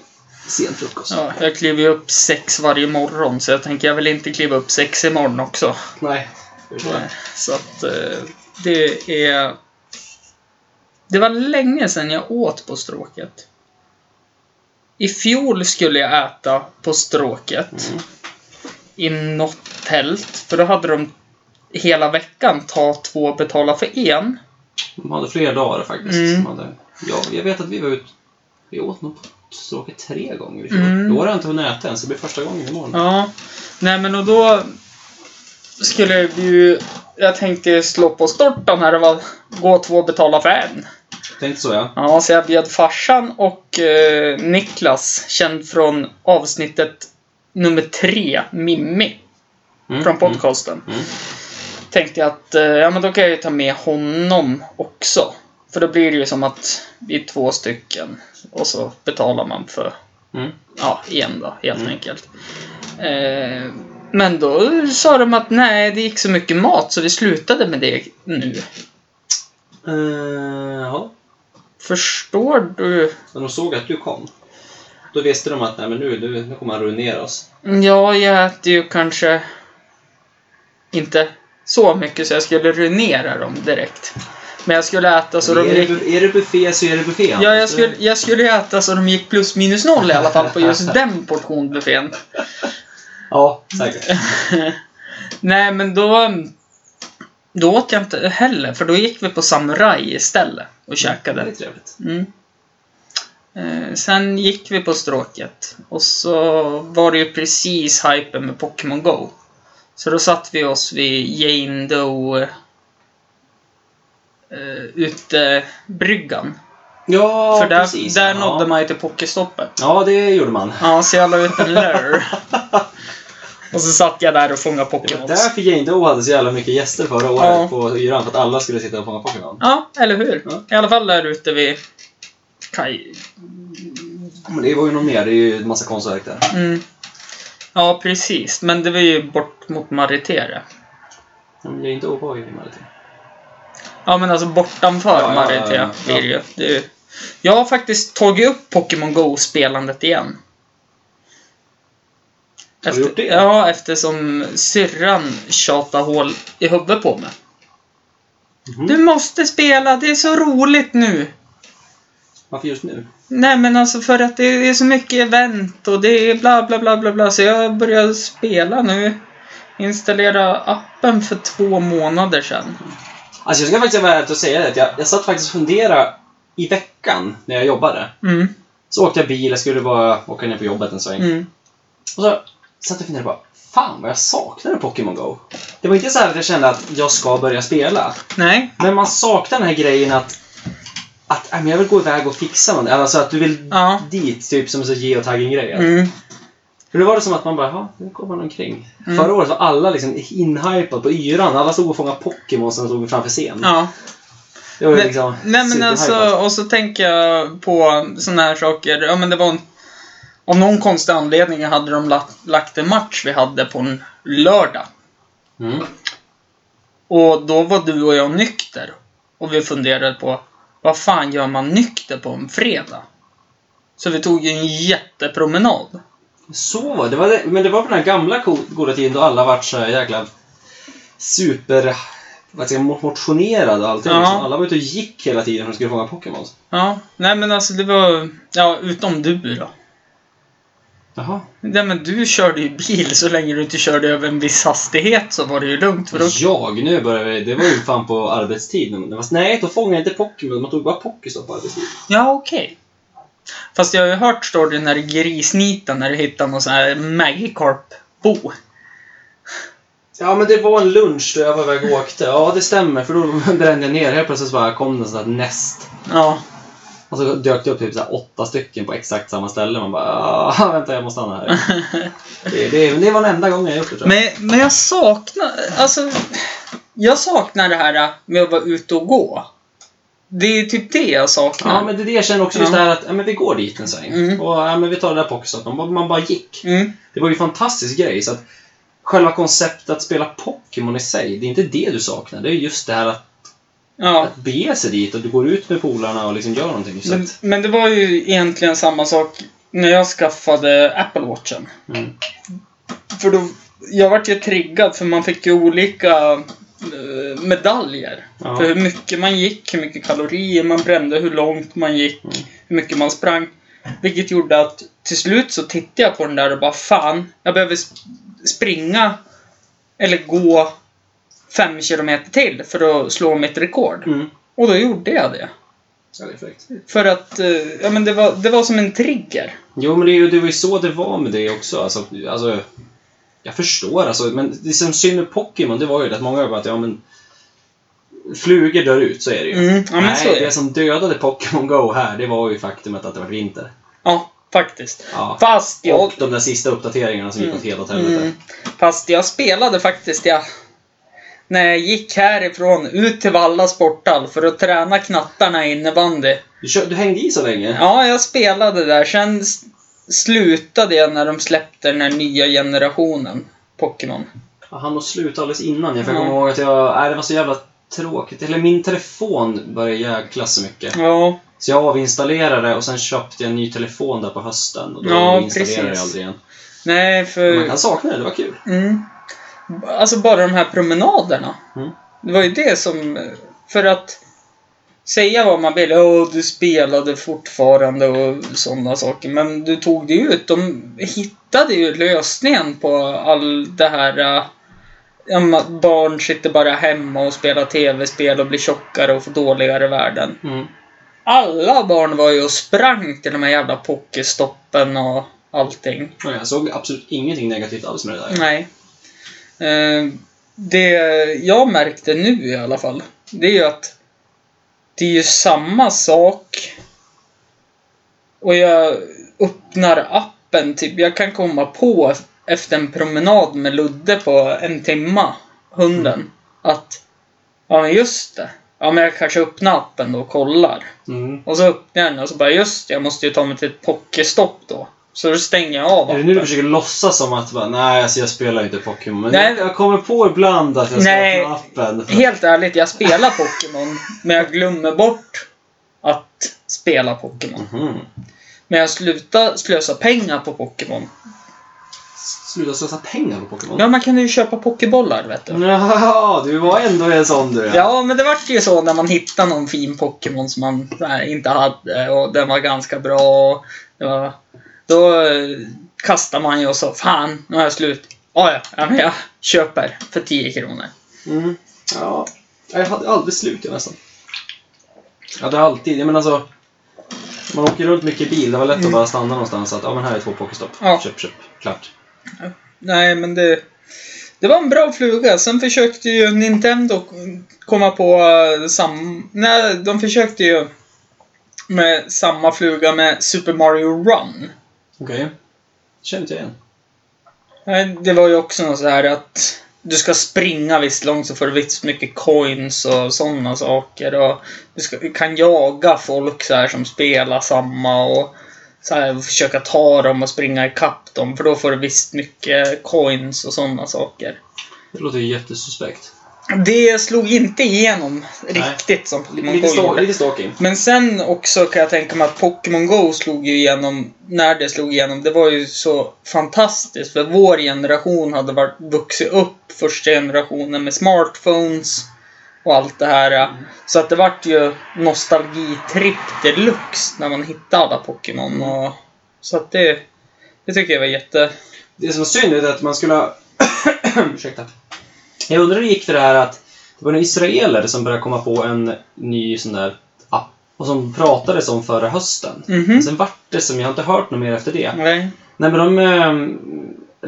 S3: sen frukost.
S2: ja, jag kliver ju upp sex varje morgon, så jag tänker jag vill inte kliva upp sex imorgon också.
S3: Nej. Det förstår jag.
S2: Så att eh, det är... Det var länge sedan jag åt på stråket. I fjol skulle jag äta på stråket.
S3: Mm.
S2: I något tält. För då hade de hela veckan ta två betala för en.
S3: De hade fler dagar faktiskt.
S2: Mm.
S3: De hade, ja, jag vet att vi var ute... Vi åt nog på stråket tre gånger i fjol.
S2: Mm.
S3: Då har jag inte hunnit äta än, så det blir första gången imorgon.
S2: Ja, nej men och då skulle vi ju... Jag tänkte slå på stortan här och bara gå två och betala för en.
S3: Tänkte så ja.
S2: Ja, så jag bjöd farsan och eh, Niklas, känd från avsnittet nummer tre, Mimmi,
S3: Mm.
S2: från podcasten.
S3: Mm. Mm.
S2: Tänkte jag att eh, ja, men då kan jag ju ta med honom också. För då blir det ju som att vi är två stycken och så betalar man för
S3: Mm.
S2: ja, igen då, helt
S3: Mm.
S2: enkelt. Eh, men då sa de att nej, det gick så mycket mat så vi slutade med det nu.
S3: Eh, ja.
S2: Förstår du?
S3: När de såg att du kom, då visste de att nej, men nu, nu, nu kommer han ruinera oss.
S2: Ja, jag äter ju kanske inte så mycket så jag skulle ruinera dem direkt. Men jag skulle äta så de
S3: är, det,
S2: gick...
S3: bu- är det buffé så är det buffé.
S2: Ja, jag
S3: Anders.
S2: skulle, jag skulle äta så de gick plus minus noll i alla fall på just den portionsbuffén.
S3: Ja, säkert.
S2: Nej, men då... Då åt jag inte heller, för då gick vi på Samurai istället och
S3: Det
S2: käkade.
S3: är trevligt.
S2: Mm. Eh, sen gick vi på stråket och så var det ju precis hypen med Pokémon Go. Så då satt vi oss vid Jane Doe eh, utebryggan.
S3: Ja,
S2: För där,
S3: precis.
S2: där
S3: ja.
S2: nådde man ju till Pokéstoppet.
S3: Ja, det gjorde man.
S2: Ja, så jag la ut en lure. och så satt jag där och fångade
S3: Det var
S2: Pokémons.
S3: därför Jane Doe hade så jävla mycket gäster förra året
S2: Ja.
S3: på yran, för att alla skulle sitta och fånga Pokémon.
S2: Ja, eller hur?
S3: Ja.
S2: I alla fall där ute vid kaj,
S3: Men det var ju något mer, det är ju en massa konstverk där.
S2: Mm. Ja, precis. Men det var ju bort mot Maritere.
S3: Men Jane Doe var ju emellertid.
S2: Ja, men alltså bortanför
S3: Ja, ja,
S2: Maritere
S3: ja, ja.
S2: blir det ju. Det är ju. Jag har faktiskt tagit upp Pokémon Go-spelandet igen.
S3: Har du gjort det?
S2: Ja, eftersom syrran tjatar hål i huvudet på mig.
S3: Mhm.
S2: Du måste spela, det är så roligt nu!
S3: Varför just nu?
S2: Nej men alltså för att det är så mycket event och det är bla bla bla bla bla så jag började spela nu. Installera appen för två månader sedan.
S3: Alltså jag ska faktiskt vara ärlig och säga det, att jag, jag satt faktiskt och funderade i veckan när jag jobbade.
S2: Mm,
S3: Så åkte jag bil, jag skulle bara åka ner på jobbet en sväng.
S2: mm.
S3: Och så satt jag och funderade på, fan vad jag saknade Pokémon Go. Det var inte så här att jag kände att jag ska börja spela.
S2: Nej.
S3: Men man saknar den här grejen att, att äh, men jag vill gå iväg och fixa någonting. Alltså att du vill
S2: Ja.
S3: dit, typ som en sån geotagging-grej.
S2: Mm.
S3: För då var det som att man bara, ja, nu går man omkring.
S2: Mm.
S3: Förra året var alla liksom inhypade på yran. Alla stod och fångade Pokémon som stod framför scen.
S2: Ja.
S3: Mm. Det var ju
S2: Nej,
S3: liksom
S2: Nej men
S3: superhypat.
S2: alltså, och så tänker jag på såna här saker. Ja men det var en... Av någon konstig anledning hade de lagt, lagt en match vi hade på en lördag.
S3: Mm.
S2: Och då var du och jag nykter. Och vi funderade på, vad fan gör man nykter på en fredag? Så vi tog ju en jättepromenad.
S3: Så var det. var det. Men det var på den här gamla ko- goda tiden då alla vart så här jäkla super... Vad ska jag, säga, mo- motionerade och allting.
S2: Ja.
S3: Liksom. Alla var ute och gick hela tiden för att de skulle fånga Pokémon.
S2: Ja, nej men alltså det var, ja utom du då.
S3: Jaha.
S2: Nej men du körde ju bil så länge du inte körde över en viss hastighet så var det ju lugnt. För då,
S3: Jag? Nu börjar vi... Det var ju fan på arbetstid. Men det var, nej, då fångade jag inte Pokémon. Man tog bara Pokéstopp på arbetstid.
S2: ja okej. Fast jag har ju hört storyn när det grisnitar när du hittar någon sån här Magikarp-bo.
S3: Ja, men det var en lunch då jag var iväg och åkte. Ja, det stämmer. För då brände jag ner. Helt plötsligt bara kom det en sån här näst.
S2: Ja,
S3: Och så dök det upp typ så här åtta stycken på exakt samma ställe. Man bara "Ah, vänta jag måste stanna här. Det, det, det var den enda gången jag gjort det tror jag.
S2: Men, men jag saknar, alltså, jag saknar det här med att vara ute och gå. Det är typ det jag saknar.
S3: Ja, men det är det jag känner också. Just
S2: Ja.
S3: det här att ja, Mhm. men vi går dit en sväng.
S2: Mm.
S3: Och ja, men vi tar det där pocketstoppen. Man, man bara gick.
S2: Mm.
S3: Det var ju en fantastisk grej. Så att själva konceptet att spela Pokémon i sig, det är inte det du saknar. Det är just det här att,
S2: Ja.
S3: att bege sig dit. Att du går ut med polarna och liksom gör någonting. Så
S2: Men,
S3: att,
S2: men det var ju egentligen samma sak när jag skaffade Apple Watchen.
S3: mm.
S2: För då, jag vart ju triggad för man fick ju olika eh, medaljer.
S3: Ja.
S2: För hur mycket man gick, hur mycket kalorier man brände, hur långt man gick,
S3: Mm.
S2: hur mycket man sprang. Vilket gjorde att till slut så tittade jag på den där och bara fan, jag behöver sp- springa eller gå fem kilometer till för att slå mitt rekord.
S3: Mm.
S2: Och då gjorde jag det.
S3: Ja, det är fräckt.
S2: För att, eh, ja men det var, det var som en trigger.
S3: Jo, men det, är ju- det var ju så det var med det också. Alltså, alltså, jag förstår, alltså, men det som synd med Pokémon, det var ju det att många bara att ja, men flugor dör ut, så är det ju.
S2: Mm, ja, men
S3: Nej,
S2: så är
S3: det
S2: det.
S3: som dödade Pokémon Go här, det var ju faktumet att det var vinter.
S2: Ja, faktiskt.
S3: Ja.
S2: Fast jag...
S3: Och de där sista uppdateringarna som gick åt helt åt helvete.
S2: Mm. Fast jag spelade faktiskt, jag. När jag gick härifrån ut till Valla sporthall för att träna knattarna i innebandy.
S3: Du, kör, du hängde i så länge?
S2: Ja, jag spelade där. Sen s- slutade jag när de släppte den här nya generationen Pokémon.
S3: Han och slut alldeles innan. Jag får
S2: Ja.
S3: komma ihåg att jag... Nej, det var så jävla tråkigt. Eller min telefon började jäkla så mycket.
S2: Ja,
S3: Så jag avinstallerade och sen köpte jag en ny telefon där på hösten. Och då
S2: Ja,
S3: installerade jag
S2: precis. Eh.
S3: aldrig igen.
S2: nej
S3: Man
S2: för...
S3: kan sakna det, det var kul.
S2: Mm. Alltså bara de här promenaderna.
S3: Mm.
S2: Det var ju det som... För att säga vad man vill. Åh, du spelade fortfarande och sådana saker. Men du tog det ut. De hittade ju lösningen på all det här... eh, ja, men Att barn sitter bara hemma och spelar tv-spel och blir tjockare och får dåligare värden.
S3: Mm.
S2: Alla barn var ju och sprang till de här jävla pokestoppen och allting.
S3: Och jag såg absolut ingenting negativt alls med det där.
S2: Nej. Eh, Det jag märkte nu i alla fall, det är ju att det är ju samma sak och jag öppnar appen, typ. Jag kan komma på efter en promenad med Ludde på en timma, hunden,
S3: Mm.
S2: att ja men just det. Ja men jag kanske öppnar appen då och kollar.
S3: Mm.
S2: Och så öppnar jag den och så bara just det, jag måste ju ta mig till ett pokestopp då. Så då stänger jag av
S3: Är det nu du försöker låtsas som att bara, nej alltså jag spelar ju inte Pokémon. Men
S2: Nej.
S3: jag kommer på ibland att jag ska
S2: Nej.
S3: öppna appen.
S2: Helt ärligt, jag spelar Pokémon, men jag glömmer bort att spela Pokémon.
S3: Mhm.
S2: Men jag slutar slösa pengar på Pokémon.
S3: Sluta slösa pengar på Pokémon.
S2: Ja, man kan ju köpa Pokébollar, vet du.
S3: Ja, du var ändå en sån du.
S2: Ja, men det vart ju så när man hittade någon fin Pokémon som man så här, inte hade och den var ganska bra. Och det var, då eh, kastar man ju och så, fan, nu har jag slut. Ja, ja, ja, men jag köper för 10 kronor.
S3: Mm. Ja. Jag hade aldrig slut jag nästan. Jag hade alltid, jag menar alltså. Man åker runt mycket bil, det var lätt att bara stanna någonstans. Att, ja men här är två Pokéstopp.
S2: Mm. Ja.
S3: Köp, köp. Klart.
S2: Nej, men det... Det var en bra fluga. Sen försökte ju Nintendo komma på eh, sam... Nej, de försökte ju med samma fluga med Super Mario Run.
S3: Okej. Känner inte jag igen.
S2: Nej, Det var ju också något så här att du ska springa visst långt så får du visst mycket coins och sådana saker. Och du ska, du kan jaga folk så här som spelar samma och så här, försöka ta dem och springa ikapp dem för då får du visst mycket coins och sådana saker.
S3: Det låter ju jättesuspekt.
S2: Det slog inte igenom
S3: Nej.
S2: riktigt som Pokémon Go
S3: Lite, sta-
S2: gjorde.
S3: lite stalking.
S2: Men sen också kan jag tänka mig att Pokémon Go slog ju igenom, när det slog igenom, det var ju så fantastiskt. För vår generation hade varit, vuxit upp, första generationen med smartphones och allt det här.
S3: Mm.
S2: Så att det vart ju nostalgitripp deluxe när man hittade alla Pokémon.
S3: Mm.
S2: Och, så att det, det tycker jag var jätte...
S3: Det som är synd är att man skulle ha... Ursäkta. Jag undrar hur det gick för det här att det var några israeler som började komma på en ny sån där app. Och som pratades om förra hösten.
S2: Mhm.
S3: Sen vart det som, jag har inte hört något mer efter det.
S2: Nej.
S3: Nej men de eh,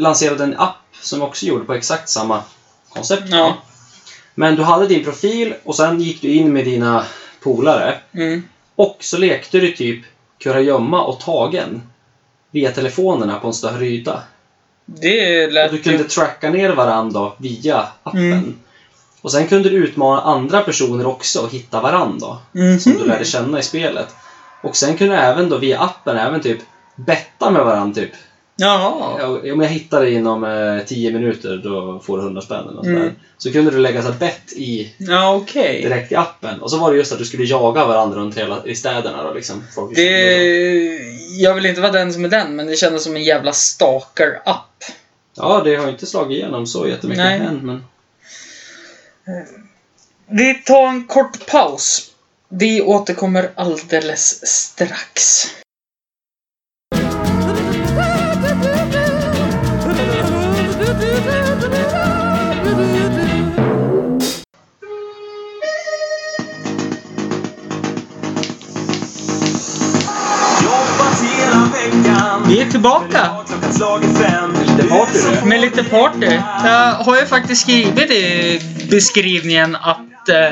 S3: lanserade en app som också gjorde på exakt samma koncept.
S2: Ja.
S3: Men du hade din profil och sen gick du in med dina polare.
S2: Mm.
S3: Och så lekte du typ kurragömma och tagen. Via telefonerna på en större yta.
S2: Det lät
S3: Och du kunde
S2: ju...
S3: tracka ner varandra via appen.
S2: Mm.
S3: Och sen kunde du utmana andra personer också och hitta varandra.
S2: Mhm.
S3: Som
S2: Mm.
S3: du lärde känna i spelet. Och sen kunde du även då via appen även typ betta med varandra typ.
S2: Jaha.
S3: Ja, Om jag hittar dig inom eh, 10 minuter då får du 100 spänn eller något
S2: Mm.
S3: sådär. Så kunde du lägga så här bett i
S2: Ja, okej.
S3: direkt i appen. Och så var det just att du skulle jaga varandra runt hela, i städerna då liksom. Folk
S2: Det... Jag vill inte vara den som är den, men det kändes som en jävla stalker-app.
S3: Ja, det har ju inte slagit igenom så jättemycket
S2: Nej.
S3: än men...
S2: Vi tar en kort paus. Vi återkommer alldeles strax.
S4: Jobbat hela veckan.
S2: Vi är tillbaka
S4: Klockan slagen fem.
S3: Lite party nu.
S2: med lite party. Jag har ju faktiskt skrivit i beskrivningen att eh,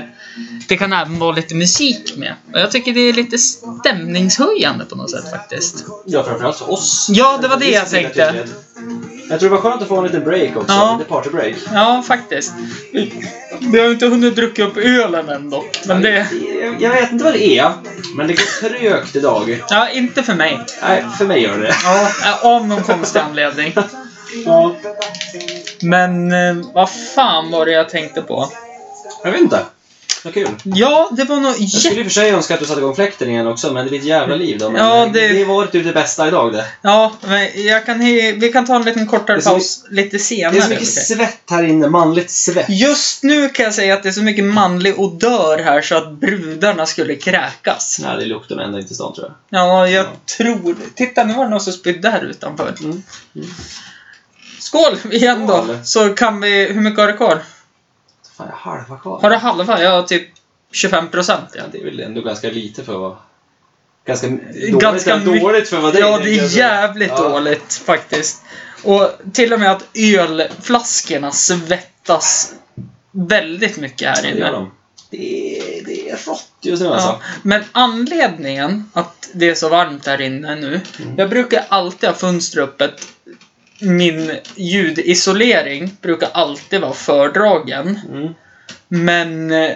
S2: det kan även vara lite musik med. Och jag tycker det är lite stämningshöjande på något sätt faktiskt.
S3: Ja, framförallt för oss.
S2: Ja, det var det jag tänkte.
S3: Jag tror det var skönt att få en liten break också.
S2: Ja.
S3: Lite partybreak.
S2: Ja, faktiskt. Vi har ju inte hunnit dricka upp ölen än dock, men det...
S3: Jag- Jag vet inte vad det är, men det går trögt idag.
S2: Ja, inte för mig.
S3: Nej, för mig gör det det.
S2: Ja, av någon konstig anledning.
S3: Ja.
S2: Men eh, vad fan var det jag tänkte på?
S3: Jag vet inte. Vad kul.
S2: Ja, det var nog
S3: Jag
S2: jätte...
S3: skulle i och för sig önska att du satte igång fläkten igen också, men det blir ett jävla liv då. Men
S2: Ja, det-
S3: det... det var typ det bästa idag det.
S2: Ja, men jag kan, he- vi kan ta en liten kortare
S3: Det är så
S2: paus lite senare.
S3: Det är så mycket
S2: okej?
S3: svett här inne. Manligt svett.
S2: Just nu kan jag säga att det är så mycket manlig odör här så att brudarna skulle kräkas.
S3: Nej, det luktar ända in till stan tror jag.
S2: Ja, jag
S3: Ja.
S2: tror... Titta, nu var det någon som spydde här utanför.
S3: Mm. Mm.
S2: Skål igen då!
S3: Skål.
S2: Så kan vi... Hur mycket har du kvar?
S3: Fan, jag har halva kvar.
S2: Har du halva? Jag har typ 25 procent.
S3: Ja, det är väl ändå ganska lite för vad... Ganska dåligt,
S2: Ganska mycket-
S3: dåligt för vad det
S2: Ja, det
S3: kan jag
S2: är
S3: säga.
S2: jävligt
S3: Ja.
S2: dåligt faktiskt. Och till och med att ölflaskorna svettas väldigt mycket här
S3: Det gör
S2: inne.
S3: de. Det är, det är rått just nu
S2: Ja,
S3: alltså.
S2: men anledningen att det är så varmt här inne nu. Jag brukar alltid ha fönster öppet. Min ljudisolering brukar alltid vara fördragen.
S3: Mm.
S2: Men eh,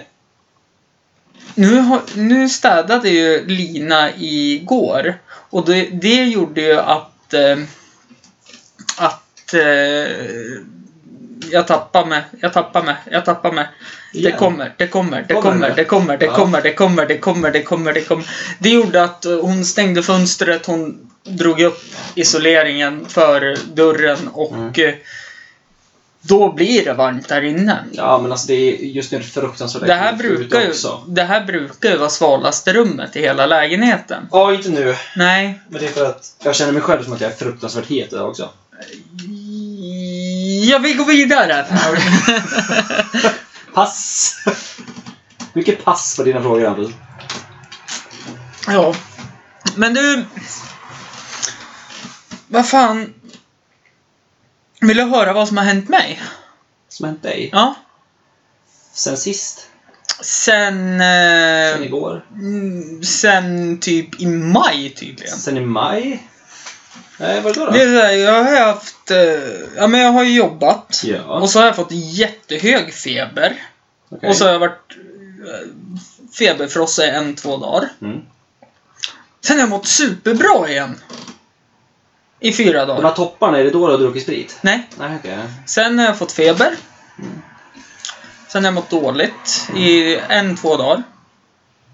S2: nu, har, nu städade ju Lina igår. Och det, det gjorde ju att, eh, att eh, jag tappar mig, jag tappar mig, jag tappar mig. Det
S3: Igen?
S2: kommer, det kommer, det
S3: Kommer
S2: kommer,
S3: det?
S2: det kommer, det
S3: Ja.
S2: kommer, det kommer, det kommer, det kommer, det kommer. Det gjorde att eh, hon stängde fönstret, hon drog upp isoleringen för dörren och
S3: Mm.
S2: eh, då blir det varmt där inne.
S3: Ja, men alltså det är just nu är det fruktansvärt
S2: Det här,
S3: äckligt ute
S2: brukar ju,
S3: också.
S2: det här brukar ju vara svalaste rummet i hela lägenheten.
S3: Ja, inte nu.
S2: Nej.
S3: Men det är för att jag känner mig själv som att jag är fruktansvärt het idag också.
S2: Ja, vi går vidare.
S3: Pass! Mycket pass på dina frågor, Hampus.
S2: ja. Men du... Vad fan... Vill du höra vad som har hänt mig?
S3: Som hänt dig?
S2: Ja.
S3: Sen sist?
S2: Sen... Eh,
S3: Sen igår?
S2: mm, sen typ i maj tydligen.
S3: Sen i maj? Nej, vad är det då?
S2: Det är så här, jag har haft... Eh, ja, men jag har ju jobbat.
S3: Ja,
S2: Och så har jag fått jättehög feber.
S3: okej.
S2: Och så har jag varit eh, feberfrossa i en, två dagar.
S3: Mm.
S2: Sen har jag mått superbra igen. I fyra
S3: De
S2: dagar.
S3: här topparna, är det då du har druckit sprit?
S2: Nej.
S3: Nej, okej.
S2: Sen har jag fått feber. Sen har jag mått dåligt i en, två dagar.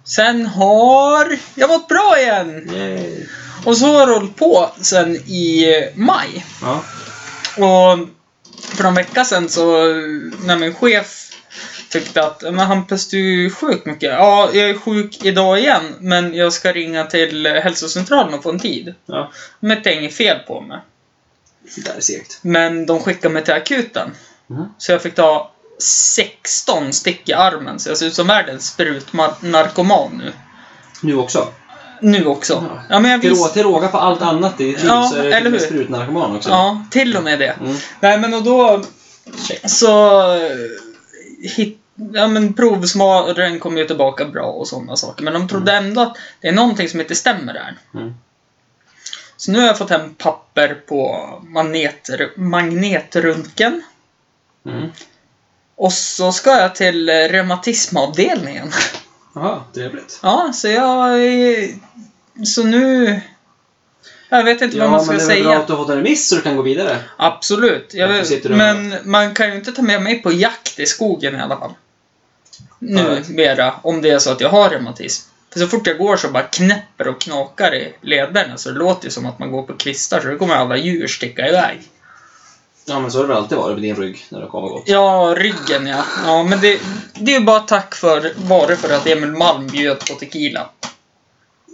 S2: Sen har jag mått bra igen!
S3: Yay.
S2: Och så har det hållit på sen i maj.
S3: Ja.
S2: Och för någon vecka sedan så, när min chef tyckte att men Hampus du är sjuk mycket. Ja, jag är sjuk idag igen men jag ska ringa till hälsocentralen och få en tid.
S3: ja.
S2: Men det är inget fel på mig.
S3: Det där är segt.
S2: Men de skickade mig till akuten.
S3: Mm.
S2: Så jag fick ta 16 stick i armen så jag ser ut som världens sprutnarkoman nu.
S3: Nu också.
S2: Nu också.
S3: Ja.
S2: Ja, men jag
S3: Till rå-
S2: visste...
S3: Till råga på allt annat i ditt liv
S2: Ja,
S3: så är det
S2: eller
S3: till och med
S2: hur?
S3: sprutnarkoman också.
S2: Ja, till och med det.
S3: Mm.
S2: Nej men och då så eh, hit, ja, men provsmaren kom ju tillbaka bra och sådana saker. Men de trodde ändå att det är någonting som inte stämmer där.
S3: Mm.
S2: Så nu har jag fått hem papper på magneter, magnetröntgen.
S3: Mm.
S2: Och så ska jag till eh, reumatismavdelningen.
S3: Jaha, trevligt.
S2: Ja, så jag... är- Så nu... Jag vet inte vad man ska
S3: men det är väl
S2: säga.
S3: bra att du har fått en remiss så du kan gå vidare.
S2: Absolut. Jag
S3: Varför
S2: vet,
S3: sitter du
S2: men man kan ju inte ta med mig på jakt i skogen i alla fall. Nu mera, om det är så att jag har reumatism. För så fort jag går så bara knäpper och knakar i lederna så det låter ju som att man går på kvistar så då kommer alla djur sticka iväg.
S3: Ja, men så har det väl alltid varit med din rygg när du kommer gått.
S2: Ja, ryggen ja. Ja, men det, det är ju bara tack för, bara för att Emil Malm bjöd på tequila.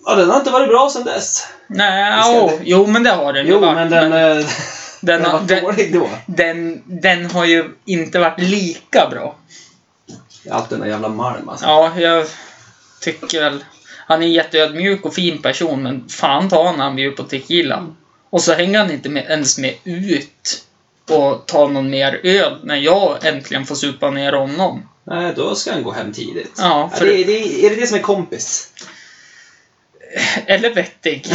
S3: Ja, den har inte varit bra sen dess.
S2: Nej,
S3: Visst är
S2: åh,
S3: det?
S2: jo men det har den ju
S3: Jo,
S2: varit,
S3: men den... eh,
S2: den
S3: den
S2: har-
S3: var
S2: den-
S3: dålig då.
S2: den, den har ju inte varit lika bra.
S3: Allt den där jävla Malm alltså.
S2: Ja, jag tycker väl... Han är en jätteödmjuk och fin person, men fan ta han när han bjuder på tequila. Och så hänger han inte med, ens med ut och tar någon mer öl när jag äntligen får supa ner honom.
S3: Nej, då ska han gå hem tidigt.
S2: Ja, för-
S3: det, det, är det det som är kompis?
S2: Eller vettig.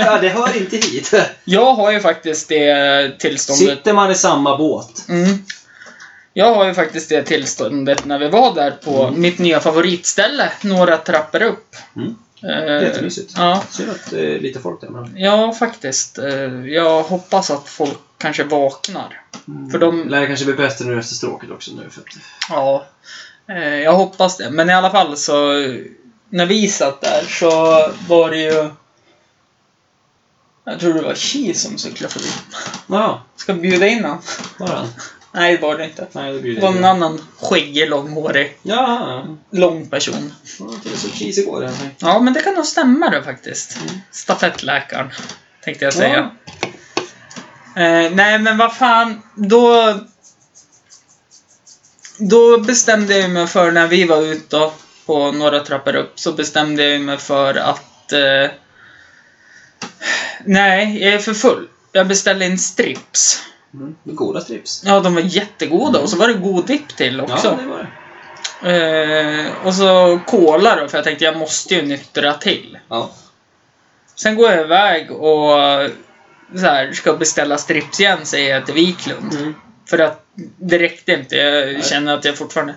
S3: ja, det hör inte hit.
S2: Jag har ju faktiskt det tillståndet...
S3: Sitter man i samma båt?
S2: Mm. Jag har ju faktiskt det tillståndet när vi var där på mitt nya favoritställe, några trappor upp.
S3: Mm.
S2: Eh,
S3: Jättemysigt.
S2: Ja,
S3: Synd att det är lite folk där. Men...
S2: Ja, faktiskt. Eh, Jag hoppas att folk kanske vaknar. Mm. För de-
S3: Lär kanske bli bättre nu efter stråket också nu. För att...
S2: Ja. Eh, Jag hoppas det. Men i alla fall så, eh, när vi satt där så var det ju... Jag tror det var Chi som cyklade förbi.
S3: Ja,
S2: Ska bjuda in honom?
S3: var han?
S2: Nej, det var det inte.
S3: Nej, det
S2: Det
S3: blir
S2: var en annan skäggig, långhårig,
S3: Ja,
S2: lång person.
S3: okej, så cheesy går det. här.
S2: Ja, men det kan nog stämma det faktiskt.
S3: Mm.
S2: Stafettläkaren, tänkte jag säga. Eh, nej, men vad fan. Då... Då bestämde jag mig för, när vi var ute då, på några trappor upp, så bestämde jag mig för att... Eh, nej, jag är för full. Jag beställde in strips.
S3: Mm. Goda strips.
S2: Ja, de var jättegoda och så var det god dipp till också.
S3: Ja, det var det.
S2: Eh, och så cola då, för jag tänkte jag måste ju nyktra till.
S3: Ja.
S2: Sen går jag iväg och eh, så här, ska beställa strips igen, säger jag till Wiklund.
S3: Mm.
S2: För att det räckte inte. Jag känner att jag fortfarande...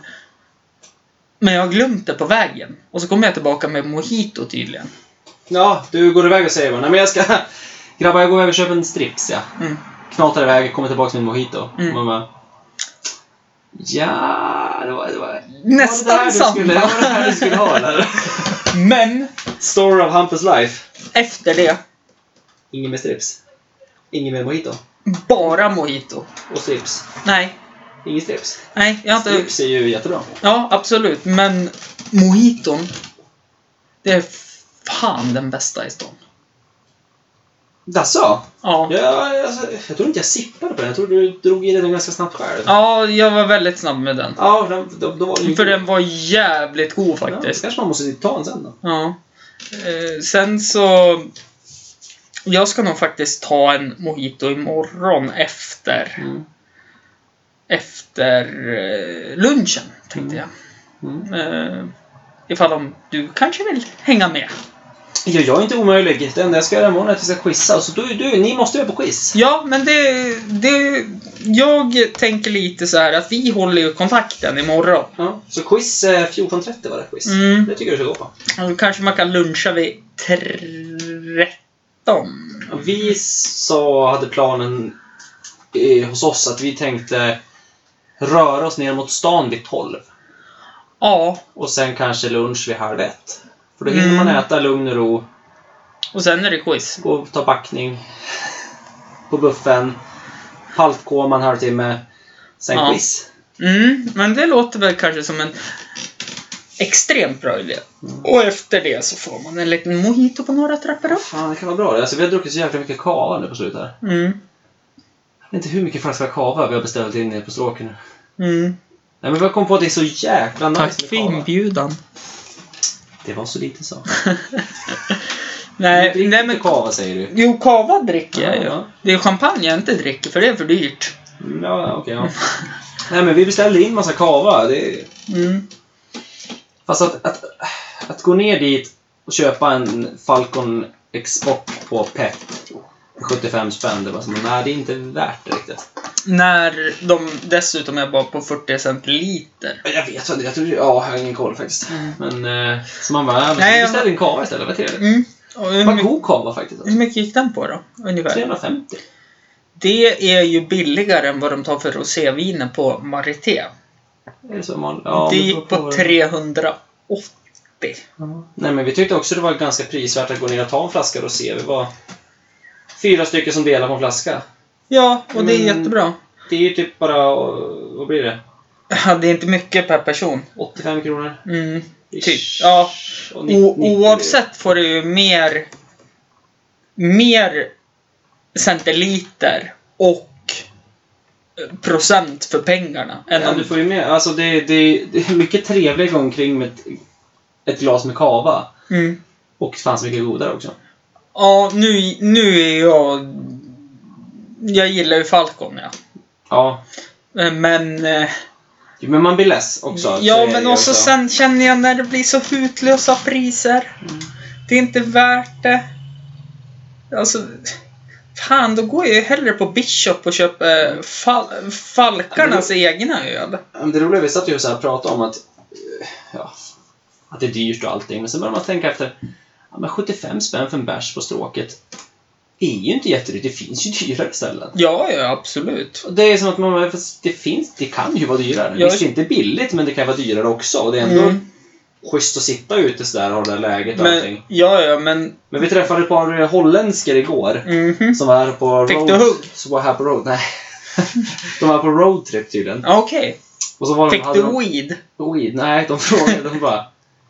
S2: Men jag har glömt det på vägen. Och så kommer jag tillbaka med mojito tydligen.
S3: ja, du går iväg och säger bara Nej, men jag ska... Grabbar, jag går iväg och köper en strips, ja.
S2: Mm.
S3: Knatar iväg, kommer tillbaka med en mojito.
S2: Mm.
S3: Man bara... Ja, det var... Det var
S2: Nästan
S3: var det där du
S2: samma.
S3: Skulle, det var det här du skulle ha, eller?
S2: Men
S3: Story of Hampus life.
S2: efter det,
S3: Ingen med strips. Ingen med mojito.
S2: bara mojito.
S3: Och strips.
S2: Nej,
S3: Ingen strips.
S2: nej, jag har inte...
S3: Strips är ju jättebra.
S2: Ja, absolut. Men mojiton, det är fan den bästa i stan.
S3: Jaså?
S2: Ja.
S3: Ja, alltså, jag tror inte jag sippade på den. Jag tror du drog i den ganska snabbt själv.
S2: ja, jag var väldigt snabb med den.
S3: Ja, den, då, då var det ju...
S2: För den var jävligt god
S3: Ja,
S2: faktiskt.
S3: kanske man måste ta en sen då.
S2: Ja. Eh, sen så... Jag ska nog faktiskt ta en mojito imorgon efter, efter eh, lunchen, tänkte jag.
S3: Mm.
S2: Eh, ifall om du kanske vill hänga med?
S3: Ja, jag är inte omöjlig. Det enda jag ska göra imorgon är att vi ska quizza. Så du, du, ni måste ju på quiz.
S2: Ja, men det, det... Jag tänker lite så här att vi håller ju kontakten imorgon.
S3: Ja, så quiz eh, 14.30 var det quiz.
S2: Mm.
S3: Det tycker jag du ska gå på.
S2: Och då kanske man kan luncha vid 13.
S3: Ja, Vi sa, hade planen eh, hos oss att vi tänkte röra oss ner mot stan vid 12.
S2: Ja,
S3: Och sen kanske lunch vid halv ett. För då hinner man
S2: Mm.
S3: äta lugn och ro,
S2: och sen är det quiz.
S3: gå och ta backning på buffen. Paltkoma en halvtimme. Sen
S2: Ja.
S3: quiz.
S2: Mm, men det låter väl kanske som en extremt bra idé. Och efter det så får man en liten mojito på några trappor upp.
S3: Fan, det kan vara bra det. Alltså, vi har druckit så jäkla mycket kava nu på slutet här.
S2: Mm,
S3: Jag vet inte hur mycket flaska kava vi har beställt in nere på stråken nu.
S2: mm.
S3: Nej men vi har kommit på att det är så jäkla nice
S2: Tack för
S3: med kava.
S2: inbjudan.
S3: Det var så lite så.
S2: Nej,
S3: Drick
S2: Eh, nej
S3: inte
S2: men...
S3: kava säger du.
S2: Jo, kava dricker jag ju.
S3: Ja.
S2: Det är champagne jag inte dricker, för det är för dyrt.
S3: Mm, Ja, okej ja. Nej men vi beställde in massa kava. Det är...
S2: Mm.
S3: Fast att, att, att gå ner dit och köpa en Falcon Export på PEP för 75 spänn, det var som, nej det är inte värt det riktigt.
S2: När de dessutom är bara på 40 cent liter.
S3: Ja, Jag vet inte, jag tror, ja, jag har ingen koll faktiskt. Men, eh, så man bara, ja, men
S2: Mm. Nej,
S3: vi
S2: jag-
S3: beställde en kava istället, vad trevligt.
S2: Mm. Mm. Och hur,
S3: Vad
S2: mycket,
S3: god kava faktiskt.
S2: hur
S3: Alltså.
S2: mycket gick den på då? Ungefär?
S3: 350.
S2: Det är ju billigare än vad de tar för roséviner på Marité.
S3: Är det så man, ja,
S2: det
S3: men
S2: gick
S3: då-
S2: på 380.
S3: Nej men vi tyckte också det var ganska prisvärt att gå ner och ta en flaska rosé. Vi var fyra stycken som delade på en flaska.
S2: Ja, och det är
S3: Mm.
S2: jättebra.
S3: Det är ju typ bara, eh, vad blir det?
S2: Ja, det är inte mycket per person.
S3: 85 kronor?
S2: Mm. Typ.
S3: Ish.
S2: Ja.
S3: Och nitt-
S2: O-
S3: 90.
S2: oavsett får du ju mer... Mer centiliter och eh, procent för pengarna. Än
S3: Ja,
S2: om,
S3: du får ju med. Alltså det, det, det är mycket trevligare att gå omkring med ett, ett glas med kava.
S2: mm.
S3: Och fanns mycket godare också.
S2: Ja, nu, nu är jag... Jag gillar ju Falcon, ja.
S3: Ja.
S2: Eh, Men... eh,
S3: Jo, Men man blir less också. Så är
S2: Ja,
S3: det
S2: men
S3: ju
S2: också
S3: alltså- också.
S2: sen känner jag när det blir så hutlösa priser.
S3: Mm.
S2: Det är inte värt det. Alltså... Fan, då går jag ju hellre på Bishop och köper fal- Falkarnas egna öl.
S3: Ja, men Det roliga är vi satt ju så här och pratade om att, eh, ja, att det är dyrt och allting. Men sen börjar man tänka efter. Ja, men 75 spänn för en bärs på stråket. är ju inte jättedyrt. Det finns ju dyrare ställen.
S2: Ja, ja, absolut.
S3: Och Det är som att man, fast det finns, det kan ju vara dyrare.
S2: Ja.
S3: Visst, det är inte billigt, men det kan vara dyrare också. Och det är ändå
S2: Mm.
S3: schysst att sitta ute sådär och ha det där läget och
S2: Men,
S3: allting.
S2: ja, ja, men...
S3: Men vi träffade ett par eh, holländskor igår.
S2: Mhm.
S3: Som var här på
S2: Fick
S3: road...
S2: du hugg?
S3: Som var här på road... Nej. de var på roadtrip tydligen.
S2: Okej.
S3: Och så var de,
S2: Fick
S3: hade
S2: du
S3: de...
S2: weed?
S3: weed? Nej, de frågade. De bara...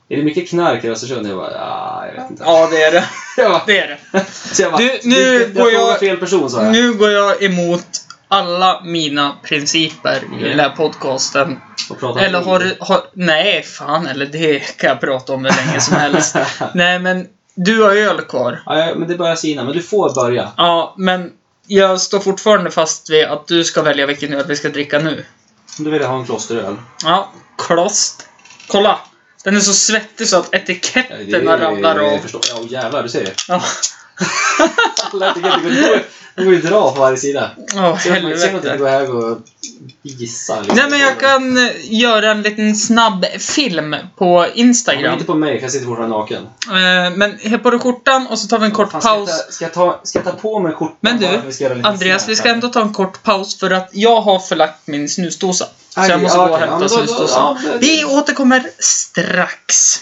S3: Är det mycket knark i Östersund? Jag bara, ja, jag vet inte.
S2: Ja, det är det.
S3: Jag bara,
S2: Det är det.
S3: så jag bara,
S2: Du, nu
S3: jag
S2: går jag-
S3: frågar fel person, sa jag.
S2: Nu går jag emot alla mina principer i den här podcasten.
S3: Och pratade
S2: Eller
S3: weed.
S2: har du... Har, nej, fan eller det kan jag prata om hur länge som helst. Nej, men du har öl kvar.
S3: Ja, ja, men det börjar sina. Men du får börja.
S2: Ja, men jag står fortfarande fast vid att du ska välja vilken öl vi ska dricka nu.
S3: Du vill jag ha en klosteröl.
S2: Ja, klost. Kolla! Den är så svettig så att etiketterna ramlar
S3: det, det
S2: av.
S3: förstår jag. Åh jävlar, du ser.
S2: Ja,
S3: Alla tycker att det går- det går ju dra på varje sida.
S2: oh,
S3: Ser man ser man inte
S2: helvete.
S3: gå här och gissa. liksom.
S2: Nej, men jag kan eh, göra en liten snabb film på
S3: Ja, men
S2: Instagram.
S3: inte på mig, för jag sitter fortfarande naken.
S2: Eh, Men hä på dig skjortan och så tar vi en kort
S3: Fan, ska, jag
S2: paus.
S3: ta, ska, jag ta, ska jag ta på mig skjortan?
S2: Men du,
S3: bara för att vi ska göra lite
S2: Andreas,
S3: snäpp
S2: vi ska
S3: här?
S2: ändå ta en kort paus för att jag har förlagt min snusdosa. Så
S3: Aj,
S2: jag måste
S3: ja,
S2: gå och
S3: okej. Ja,
S2: hämta
S3: men då- då-
S2: snusdosan.
S3: ja, det-
S2: Vi återkommer strax.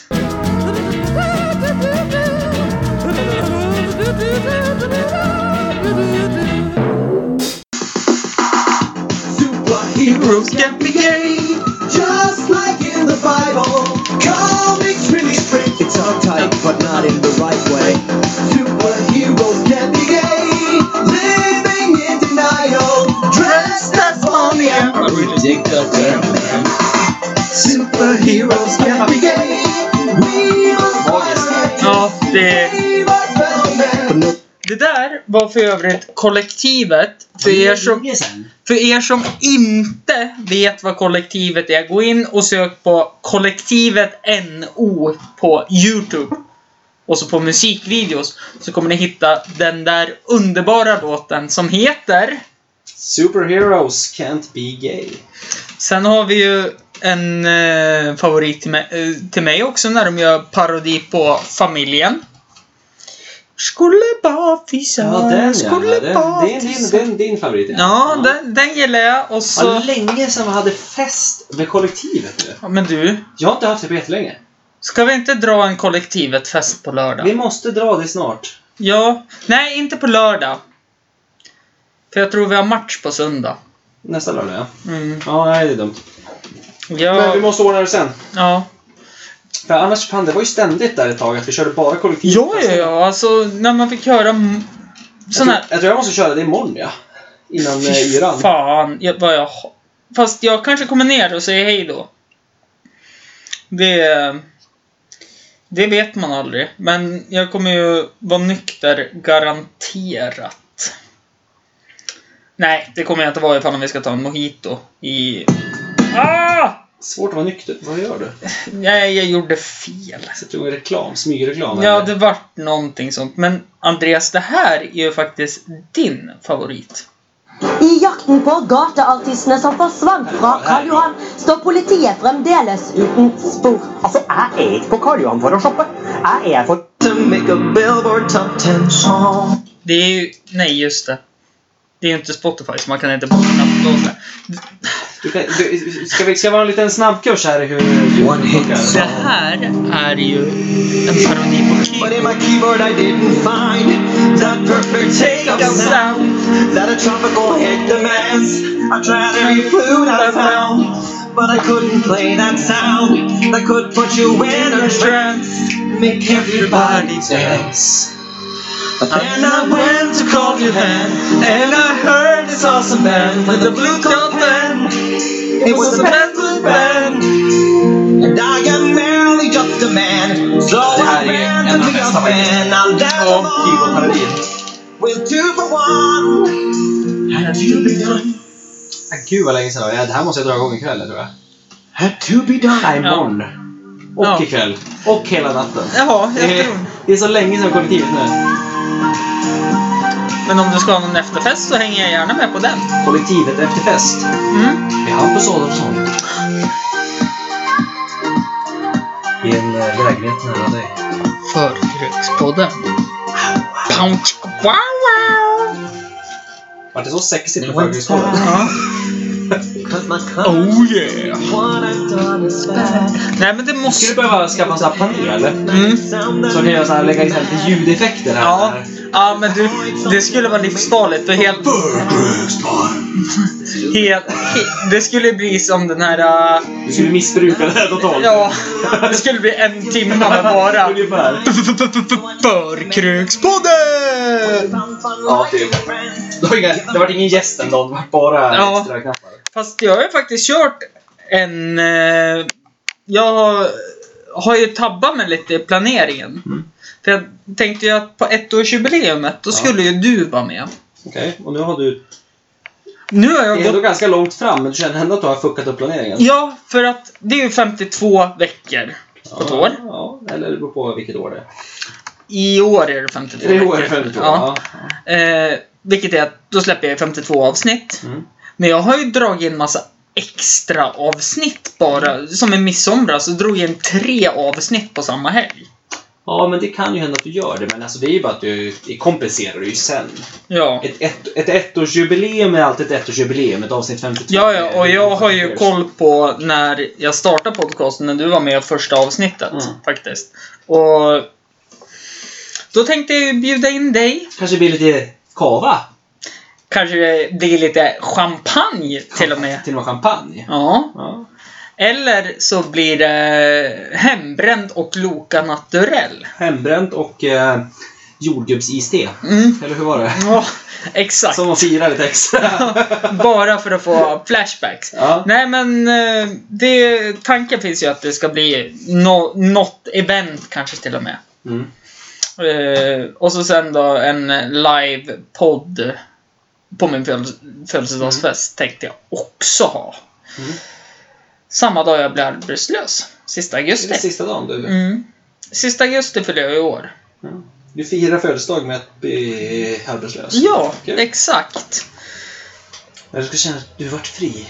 S2: Heroes can be gay.
S5: Just like in the Bible, comics really freak. It's uptight, but not in the right way. Superheroes can be gay, living in denial, dressed as funny and Superheroes can be gay. We must fight our way.
S2: Ja, det,
S5: Save our fellow man.
S2: det där var för övrigt kollektivet. För er, som, för er som inte vet vad kollektivet är, gå in och sök på kollektivet NO på Youtube. Och så på musikvideos så kommer ni hitta den där underbara låten som heter
S3: Superheroes can't be gay.
S2: Sen har vi ju en eh, favorit till mig, eh, till mig också när de gör parodi på familjen. Skulle bara fisa,
S3: Ja, den ja.
S2: skulle
S3: Det
S2: bara
S3: är det är din,
S2: fisa.
S3: din, din favorit.
S2: Ja, den, den gillar jag och
S3: Det var
S2: så...
S3: länge sedan vi hade fest med kollektivet nu.
S2: Ja, men du,
S3: Jag har inte haft det på jättelänge.
S2: ska vi inte dra en kollektivet-fest på
S3: Vi
S2: lördag?
S3: måste dra det snart.
S2: Ja, nej inte på lördag. För jag tror vi har match på söndag.
S3: Nästa lördag, ja.
S2: Mm.
S3: Ja, nej, det är dumt. Men vi
S2: Ja,
S3: måste ordna det sen.
S2: ja.
S3: För annars, fan, det var ju ständigt där ett tag att vi körde bara kollektivt.
S2: Ja, ja, ja, alltså när man fick höra m- sån här
S3: Alltså, Jag, tror, jag tror jag måste köra det imorgon, ja. Innan eh,
S2: Fy
S3: yran.
S2: fan jag, vad jag ha- Fast jag kanske kommer ner och säger hej då. Det... Det vet man aldrig. Men jag kommer ju vara nykter garanterat. Nej, det kommer jag inte vara ifall vi ska ta en mojito i... Ah!
S3: Svårt att vara nykter. Vad gör du?
S2: Nej, jag gjorde fel.
S3: Sätter du en reklam? Smygreklam?
S2: Ja,
S3: eller?
S2: det vart någonting sånt. Men Andreas, det här är ju faktiskt din favorit.
S6: I jakten på gateartistene som forsvant fra Karl Johan, står politiet fremdeles uten spor.
S7: Altså, jeg er ikke Alltså, på Karl Johan for å shoppe. Jeg er for To make a billboard top ten song.
S2: Det är ju... Nej, just det. Det är ju inte Spotify, så man kan inte bara knappblåsa.
S3: Du kan, du, ska vi ska vi ha en liten snabbkurs här i hur...
S7: One hit
S3: funkar?
S2: Det här är ju en parodi på
S7: But
S2: Keith.
S7: in my keyboard I didn't find that perfect take of sound that a tropical hit demands. I tried every flute I found, but I couldn't play that sound that could put you in a trance, make everybody dance. But then I went to Copenhagen and I heard this awesome band with the blue coat band. It was the Penguin Band. And I am merely just a man, so I ran to be a man. I'm down
S2: Ja,
S7: along with two for one. Had to be done.
S3: Ah, Gud vad länge sedan det var. Ja, Det här måste jag dra igång ikväll, tror jag.
S7: Had to be done.
S3: Nej, imorgon. Och
S2: Ja.
S3: ikväll. Och hela natten.
S2: Jaha, jag
S3: Det är,
S2: tror.
S3: det är så länge sedan kollektivet nu.
S2: Men om du ska ha någon efterfest så hänger jag gärna med på den.
S3: Kollektivet efter fest.
S2: Mm.
S3: Med Hampus Adolfsson. I en eh, lägenhet nära dig.
S2: Förkrökspodden. Wow, wow.
S3: Var det så sexigt på Höghögskolan?
S2: Ja.
S7: Cause my cousin,
S2: Oh yeah.
S7: what I've done is bad.
S2: Nej men det
S3: Skulle
S2: måste...
S3: du behöva skaffa en sån här panel?
S2: Mm.
S7: Sound that
S3: Så kan jag så här lägga in så här lite ljudeffekter här.
S2: Ja. ja, men du, det skulle vara livsfarligt. För helt, helt, he, det skulle bli som den här... äh,
S3: Du skulle missbruka det här totalt.
S2: ja, det skulle bli en timme med bara...
S3: Ungefär.
S2: Förkrökspodden!
S3: Ja, typ. Det var, inga, det var ingen gäst den dagen, det var bara
S2: Ja.
S3: extra knappar.
S2: Fast jag har ju faktiskt kört en... eh, Jag har- har ju tabbat med lite planeringen. För jag tänkte ju att på ettårsjubileumet, då
S3: Mm. Ja.
S2: skulle ju du vara med.
S3: Okej, och nu har du...
S2: Nu har jag
S3: Det är
S2: gått
S3: ändå ganska långt fram, men du känner ändå att du har fuckat upp planeringen?
S2: Ja, för att det är ju 52 veckor på ett år.
S3: Ja, eller det beror på vilket år det är.
S2: I år är det 52
S3: Det är år
S2: veckor.
S3: för år.
S2: Ja.
S3: Ja.
S2: Eh, vilket är att då släpper jag 52 avsnitt.
S3: Mm.
S2: Men jag har ju dragit in massa extra avsnitt bara. Som en midsommar så drog jag in tre avsnitt på samma helg.
S3: ja, men det kan ju hända att du gör det, men alltså det är ju bara att du det kompenserar du ju sen.
S2: Ja.
S3: Ett, ett, ett ettårsjubileum är alltid ett ettårsjubileum, ett avsnitt 52.
S2: Ja, ja, och jag har ju
S3: Mm.
S2: koll på när jag startade podcasten, när du var med i första avsnittet
S3: Mm.
S2: faktiskt. Och då tänkte jag ju bjuda in dig.
S3: Kanske blir lite kava
S2: Kanske det blir lite champagne till och med.
S3: till och med champagne.
S2: Ja.
S3: Ja.
S2: Eller så blir det hembränd och Loka Naturell.
S3: Hembränt och eh, jordgubbsiste.
S2: Mm.
S3: Eller hur var det?
S2: Ja, exakt.
S3: Som man firar lite extra.
S2: Bara för att få flashbacks.
S3: ja.
S2: Nej men eh, det, tanken finns ju att det ska bli no, något event kanske till och med.
S3: Mm.
S2: Eh, och så sen då en live-podd på min föd- födelsedagsfest tänkte jag också ha.
S3: Mm.
S2: Samma dag jag blir arbetslös. Sista
S3: Det är den
S2: augusti.
S3: sista dagen du.
S2: Mm. Sista augusti fyller jag i år.
S3: Du firar födelsedag med att bli arbetslös.
S2: Ja,
S3: Kul.
S2: exakt.
S3: Jag ska känna att du vart fri.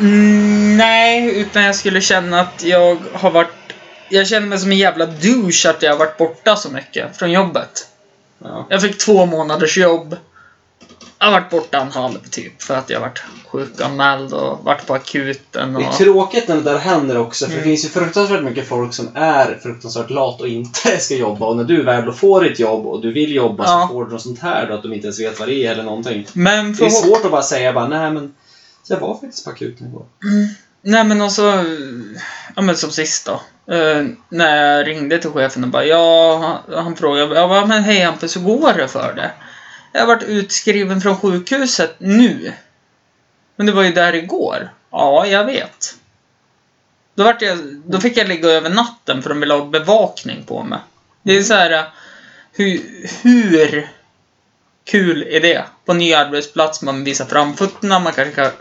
S2: Mm, nej, utan jag skulle känna att jag har varit... Jag känner mig som en jävla douche att jag har varit borta så mycket från jobbet.
S3: Ja.
S2: Jag fick två månaders jobb. Jag har varit borta en halv typ för att jag har varit sjukanmäld och varit på akuten och...
S3: Det är tråkigt när det där händer också,
S2: Mm.
S3: för det finns ju fruktansvärt mycket folk som är fruktansvärt lat och inte ska jobba. Och när du väl då får ett jobb och du vill jobba
S2: Ja.
S3: så får du något sånt här då, att de inte ens vet vad det är eller någonting.
S2: Men
S3: Det är
S2: förhopp...
S3: svårt att bara säga bara, nej men, jag var faktiskt på akuten igår.
S2: Nej men och så... Ja men som sist då. Eh, när jag ringde till chefen och bara ja, han, han frågade jag bara, men hej Hampus, hur går det för det? Jag har varit utskriven från sjukhuset nu. Men det var ju där igår. Ja, jag vet. Då, vart jag, då fick jag ligga över natten för de ville ha bevakning på mig. Det är så här, eh, hur, hur kul är det? På en ny arbetsplats, man visar framfötterna, man kanske kan,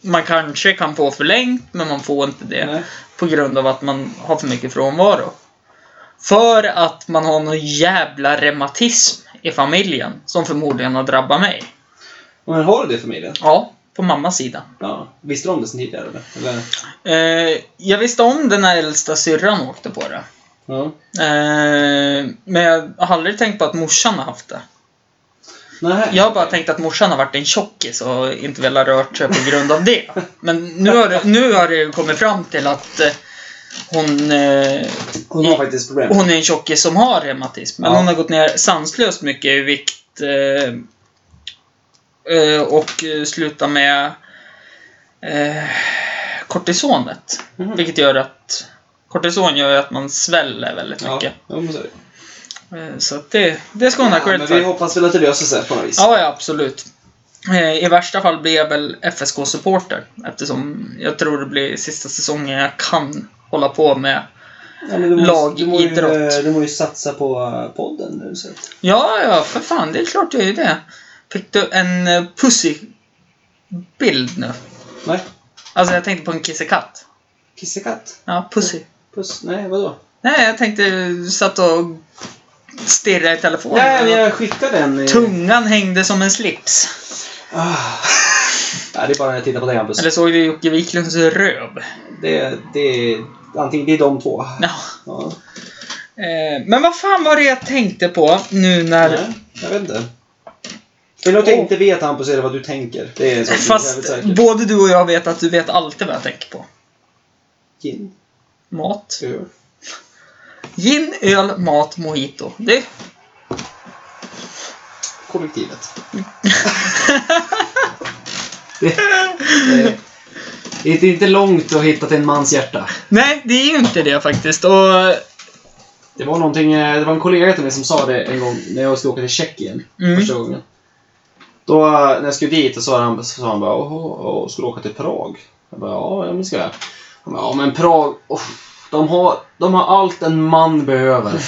S2: man kanske kan få förlängt, men man får inte det
S3: Nej.
S2: på grund av att man har för mycket frånvaro. För att man har någon jävla reumatism i familjen som förmodligen har drabbat mig.
S3: Men har du det i familjen?
S2: Ja, på mammas sida.
S3: Ja. Visste du om det sen tidigare eller? eller?
S2: Eh, jag visste om det när äldsta syrran åkte på det.
S3: Ja.
S2: Eh, men jag har aldrig tänkt på att morsan har haft det.
S3: Nej.
S2: Jag har bara tänkt att morsan har varit en tjockis och inte väl har rört sig på grund av det. Men nu har, det- nu har det ju kommit fram till att eh, hon, eh,
S3: Hon har faktiskt problem.
S2: hon är en tjockis som har reumatism. Men
S3: Mm. Ja.
S2: hon har gått ner sanslöst mycket i vikt. Eh, eh, och eh, slutat med eh, kortisonet.
S3: Mhm.
S2: Vilket gör att kortison gör ju att man sväller väldigt
S3: Ja,
S2: mycket.
S3: ja men så är det.
S2: Eh, så att det, det ska hon ha
S3: Ja,
S2: cred
S3: men
S2: för.
S3: vi hoppas väl att det löser sig på något vis.
S2: Ja, ja, absolut. Eh, I värsta fall blir jag väl FSK-supporter. Eftersom jag tror det blir sista säsongen jag kan hålla på med.
S3: Ja, men du må-
S2: Lagidrott.
S3: Du må ju, eh, du må ju satsa på eh, podden nu så. att-
S2: Ja, ja, för fan. Det är klart jag gör det. Fick du en eh, pussybild nu?
S3: Nej.
S2: Alltså, jag tänkte på en kissekatt.
S3: Kissekatt?
S2: Ja, pussy.
S3: Mm. Puss? Nej, vadå?
S2: Nej, jag tänkte du satt och stirrade i telefonen.
S3: Nej, men jag skickade den. i-
S2: Tungan hängde som en slips.
S3: Ah. Ja, det är bara när jag tittar på dig Hampus.
S2: Eller såg du Jocke Wiklunds röv?
S3: Det, det, är- antingen det är de två.
S2: Ja.
S3: Ja.
S2: Eh, men vad fan var det jag tänkte på nu när...
S3: Nej, jag vet inte. Vill du att jag inte vet Hampus, är det vad du tänker. Det är så jävligt
S2: Fast
S3: säkert.
S2: både du och jag vet att du vet alltid vad jag tänker på.
S3: Gin,
S2: Mat.
S3: öl.
S2: Gin, öl, mat, mojito. Det...
S3: Kollektivet. det, det, det är inte långt att hitta till en mans hjärta.
S2: Nej, det är ju inte det faktiskt. Och...
S3: Det var någonting, eh, det var en kollega till mig som sa det en gång när jag skulle åka till Tjeckien
S2: Mm.
S3: första gången. Då, eh, när jag skulle dit, så sa han, så sa han bara åh, åh, ska du åka till Prag? Jag bara, ja, ja, men ska jag. Han bara, ja men Prag, oh, de, har, de har allt en man behöver.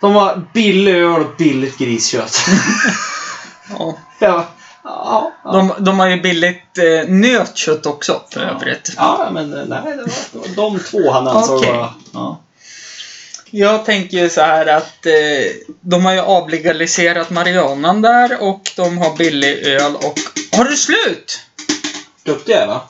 S3: De har billig öl och billigt griskött.
S2: Ja.
S3: jag bara, ja, ja.
S2: De, de har ju billigt eh, nötkött också för övrigt.
S3: Ja, men eh, nej, det var, det var de två han ansåg
S2: Okej.
S3: vara... Ja.
S2: Jag tänker ju så här att eh, de har ju avlegaliserat marijuanan där och de har billig öl och... Har du slut?
S3: Duktig jag är, va?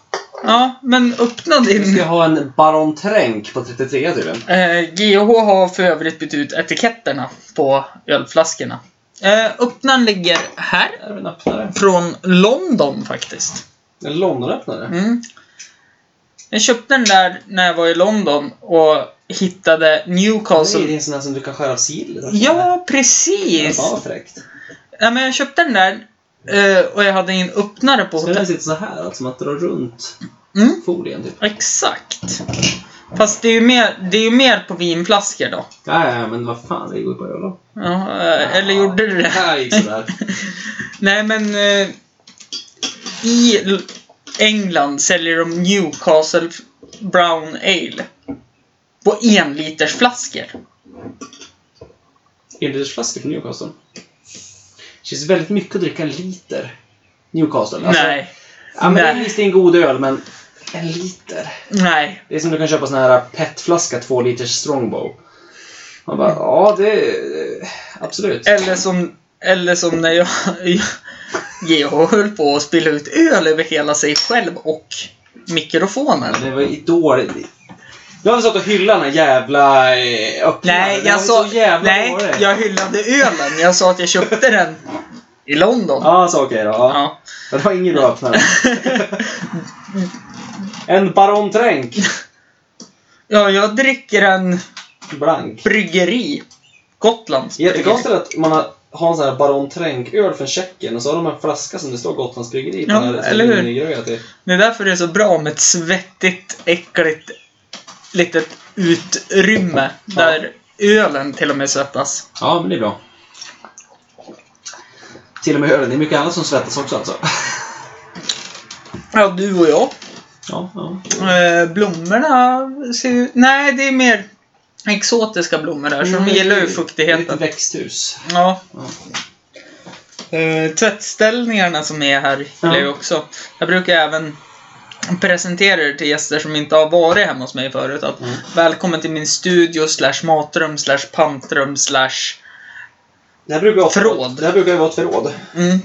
S2: Ja, men öppna
S3: Vi
S2: din.
S3: ska ha en Baron Tränk på 33 tydligen.
S2: Eh, GH har för övrigt bytt ut etiketterna på ölflaskorna. Eh, öppnaren ligger här.
S3: Är det en öppnare?
S2: Från London faktiskt.
S3: En Londonöppnare?
S2: Mm. Jag köpte den där när jag var i London och hittade Newcastle.
S3: Nej, det är en sån här som du kan skära av sillet.
S2: Ja,
S3: Det
S2: precis!
S3: var bara fräckt.
S2: Ja, men jag köpte den där eh, och jag hade en öppnare på
S3: Så den
S2: hotellet.
S3: sitter så här, alltså, som att dra runt
S2: Mm,
S3: folien typ.
S2: exakt. Fast det är ju mer, det är ju mer på vinflaskor då.
S3: Ja, ja, ja, men vad fan, det går ju på öl då.
S2: Ja, eh, eller gjorde du
S3: Det
S2: det?
S3: här gick sådär.
S2: Nej, men eh, i L- England säljer de Newcastle Brown Ale på enlitersflaskor.
S3: Enlitersflaskor från Newcastle. Det känns väldigt mycket att dricka en liter. Newcastle. Alltså,
S2: nej,
S3: Ja, men det är
S2: Nej.
S3: visst en god öl, men en liter.
S2: nej.
S3: Det är som du kan köpa sån här petflaska, två liters strongbow. Man bara, ja det... eh, Absolut.
S2: Eller som, eller som när jag, jag höll på att spilla ut öl över hela sig själv och mikrofonen.
S3: Det var ju dåligt. Nu har vi stått och hyllat den här jävla eh, öppnaren.
S2: Nej,
S3: Den var
S2: jag
S3: ju
S2: sa...
S3: så jävla
S2: Nej,
S3: dålig.
S2: jag hyllade ölen. Jag sa att jag köpte den i London. Ja.
S3: Ja, så okej då. Ja. Det var ingen bra öppnare. en Baron Tränk.
S2: ja, jag dricker en
S3: Blank.
S2: bryggeri. Gotlands bryggeri.
S3: Jättekonstigt att man har, har en sån här Baron Tränk-öl från Tjeckien och så har de en flaska som det står Gotlands Bryggeri på.
S2: Ja,
S3: den här
S2: eller hur?
S3: minigröt i.
S2: Det är därför det är så bra med ett svettigt, äckligt litet utrymme där ölen till och med svettas.
S3: Ja, men det är bra. Till och med ölen. Det är mycket annat som svettas också alltså.
S2: Ja, du och jag.
S3: Ja, ja.
S2: Eh, blommorna ser ju... Nej, det är mer exotiska blommor där, så de gillar ju
S3: Mm, Lite
S2: fuktigheten.
S3: växthus.
S2: Ja. Eh, tvättställningarna som är här gillar jag också. Jag brukar även presentera det till gäster som inte har varit hemma hos mig förut. Att
S3: Mm.
S2: Välkommen till min studio slash matrum slash pantrum slash...
S3: Det här brukar, ofta,
S2: Förråd.
S3: Det här brukar ju vara ett förråd.
S2: Mm.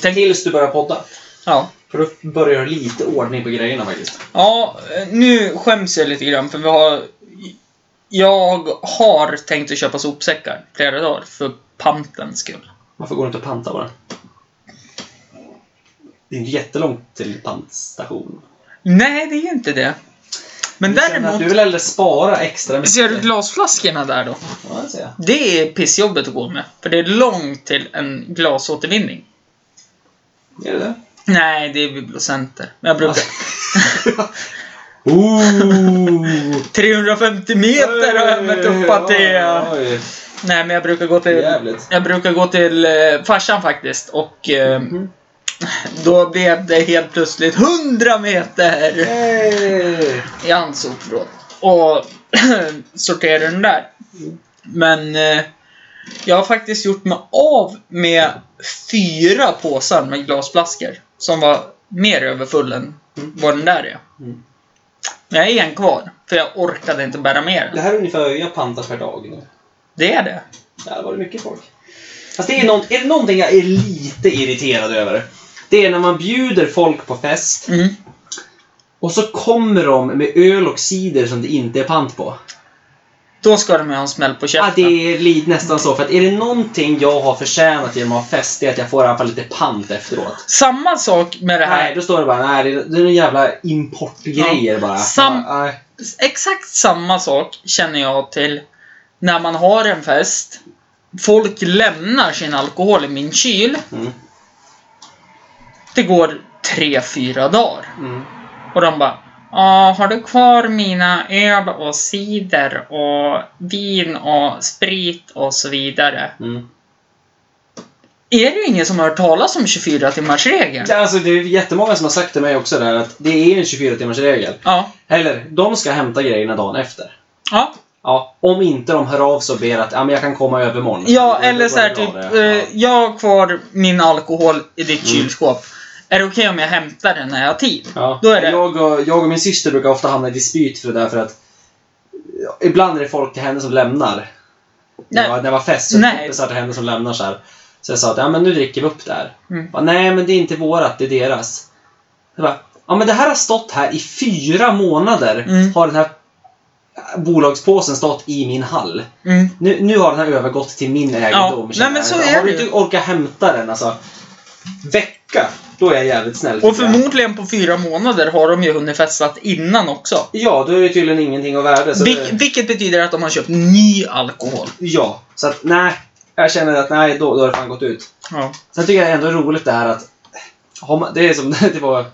S2: Tänk,
S3: Tills du börjar podda.
S2: ja.
S3: För då börjar du lite ordning på grejerna faktiskt.
S2: Ja, eh, nu skäms jag lite grann för vi har... Jag har tänkt att köpa sopsäckar flera dagar för pantens skull.
S3: Varför går du inte och pantar bara? Det är inte jättelångt till pantstation.
S2: Nej, det är inte det. Men
S3: Du känner att
S2: däremot...
S3: Du vill hellre spara extra mycket.
S2: Ser du glasflaskorna där då?
S3: Ja, det ser jag.
S2: Det är pissjobbet att gå med. För det är långt till en glasåtervinning.
S3: Är det det?
S2: Nej, det är Bibliocenter. Men jag brukar...
S3: Ooh!
S2: 350 meter har jag mött uppat till... eh,
S3: Oj,
S2: Nej, men jag brukar gå till...
S3: Jävligt.
S2: Jag brukar gå till eh, farsan faktiskt och eh,
S3: Mhm.
S2: då blev det helt plötsligt 100 meter
S3: Hey.
S2: i hans sopförråd. Och sorterade den där. Men eh, jag har faktiskt gjort mig av med fyra påsar med glasflaskor som var mer överfull än vad den där är.
S3: Mm.
S2: Men jag är en kvar, för jag orkade inte bära med
S3: Det
S2: den.
S3: här är ungefär vad jag pantar per dag nu.
S2: Det är det.
S3: Där var det mycket folk. Fast det är, någon, är det någonting jag är lite irriterad över. Det är när man bjuder folk på fest
S2: Mm.
S3: och så kommer de med öl och cider som det inte är pant på.
S2: Då ska de ju ha en smäll på
S3: Ja,
S2: käften.
S3: Ah, det är lite nästan så. För att är det någonting jag har förtjänat genom att ha fest, det är att jag får i alla fall lite pant efteråt.
S2: Samma sak med det här.
S3: Nej, då står det bara nej, det är- det är några jävla importgrejer
S2: Ja.
S3: bara.
S2: Sam-
S3: Ja, nej.
S2: Exakt samma sak känner jag till när man har en fest. Folk lämnar sin alkohol i min kyl.
S3: Mm.
S2: Det går tre, fyra dagar.
S3: Mm.
S2: Och de bara Ja, har du kvar mina öl och cider och vin och sprit och så vidare?
S3: Mm.
S2: Är det ingen som har hört talas om 24-timmarsregeln?
S3: Ja, Alltså, det är jättemånga som har sagt till mig också där att det är en 24-timmarsregel.
S2: Ja.
S3: Eller, de ska hämta grejerna dagen efter.
S2: Ja,
S3: Ja, om inte de hör av sig och ber att ja, men jag kan komma över imorgon.
S2: ja
S3: Då-
S2: eller
S3: då
S2: så här
S3: är det bra
S2: typ,
S3: det. Mm.
S2: eh, jag har kvar min alkohol i ditt kylskåp. Är det okej om jag hämtar den när jag har tid?
S3: Ja.
S2: Då är det,
S3: Jag, och, jag och min syster brukar ofta hamna i dispyt för det där för att ja, ibland är det folk till henne som lämnar.
S2: Nej.
S3: När jag, när jag var fest så är
S2: Nej.
S3: det kompisar till henne som lämnar så här. Så jag sa att ja, men nu dricker vi upp det här.
S2: Mm.
S3: Bara, Nej, men det är inte vårat, det är deras. Jag bara, ja, men det här har stått här i fyra månader.
S2: Mm.
S3: Har den här bolagspåsen stått i min hall.
S2: mm,
S3: Nu, nu har den här övergått till min ägodom.
S2: Nej,
S3: känner
S2: men
S3: jag.
S2: så är
S3: Har du
S2: det ju.
S3: inte orkat hämta den, alltså. Vecka, då är jag jävligt snäll.
S2: Och
S3: dig.
S2: förmodligen på fyra månader har de ju hunnit festat innan också.
S3: Ja, då är det tydligen ingenting av värde. Så
S2: Vil-
S3: Alltså, det,
S2: vilket betyder att de har köpt ny alkohol.
S3: ja, så att nej. Jag känner att nej, då, då har det fan gått ut.
S2: Ja.
S3: Sen tycker jag ändå det är roligt det här att... Har man, det är som det var...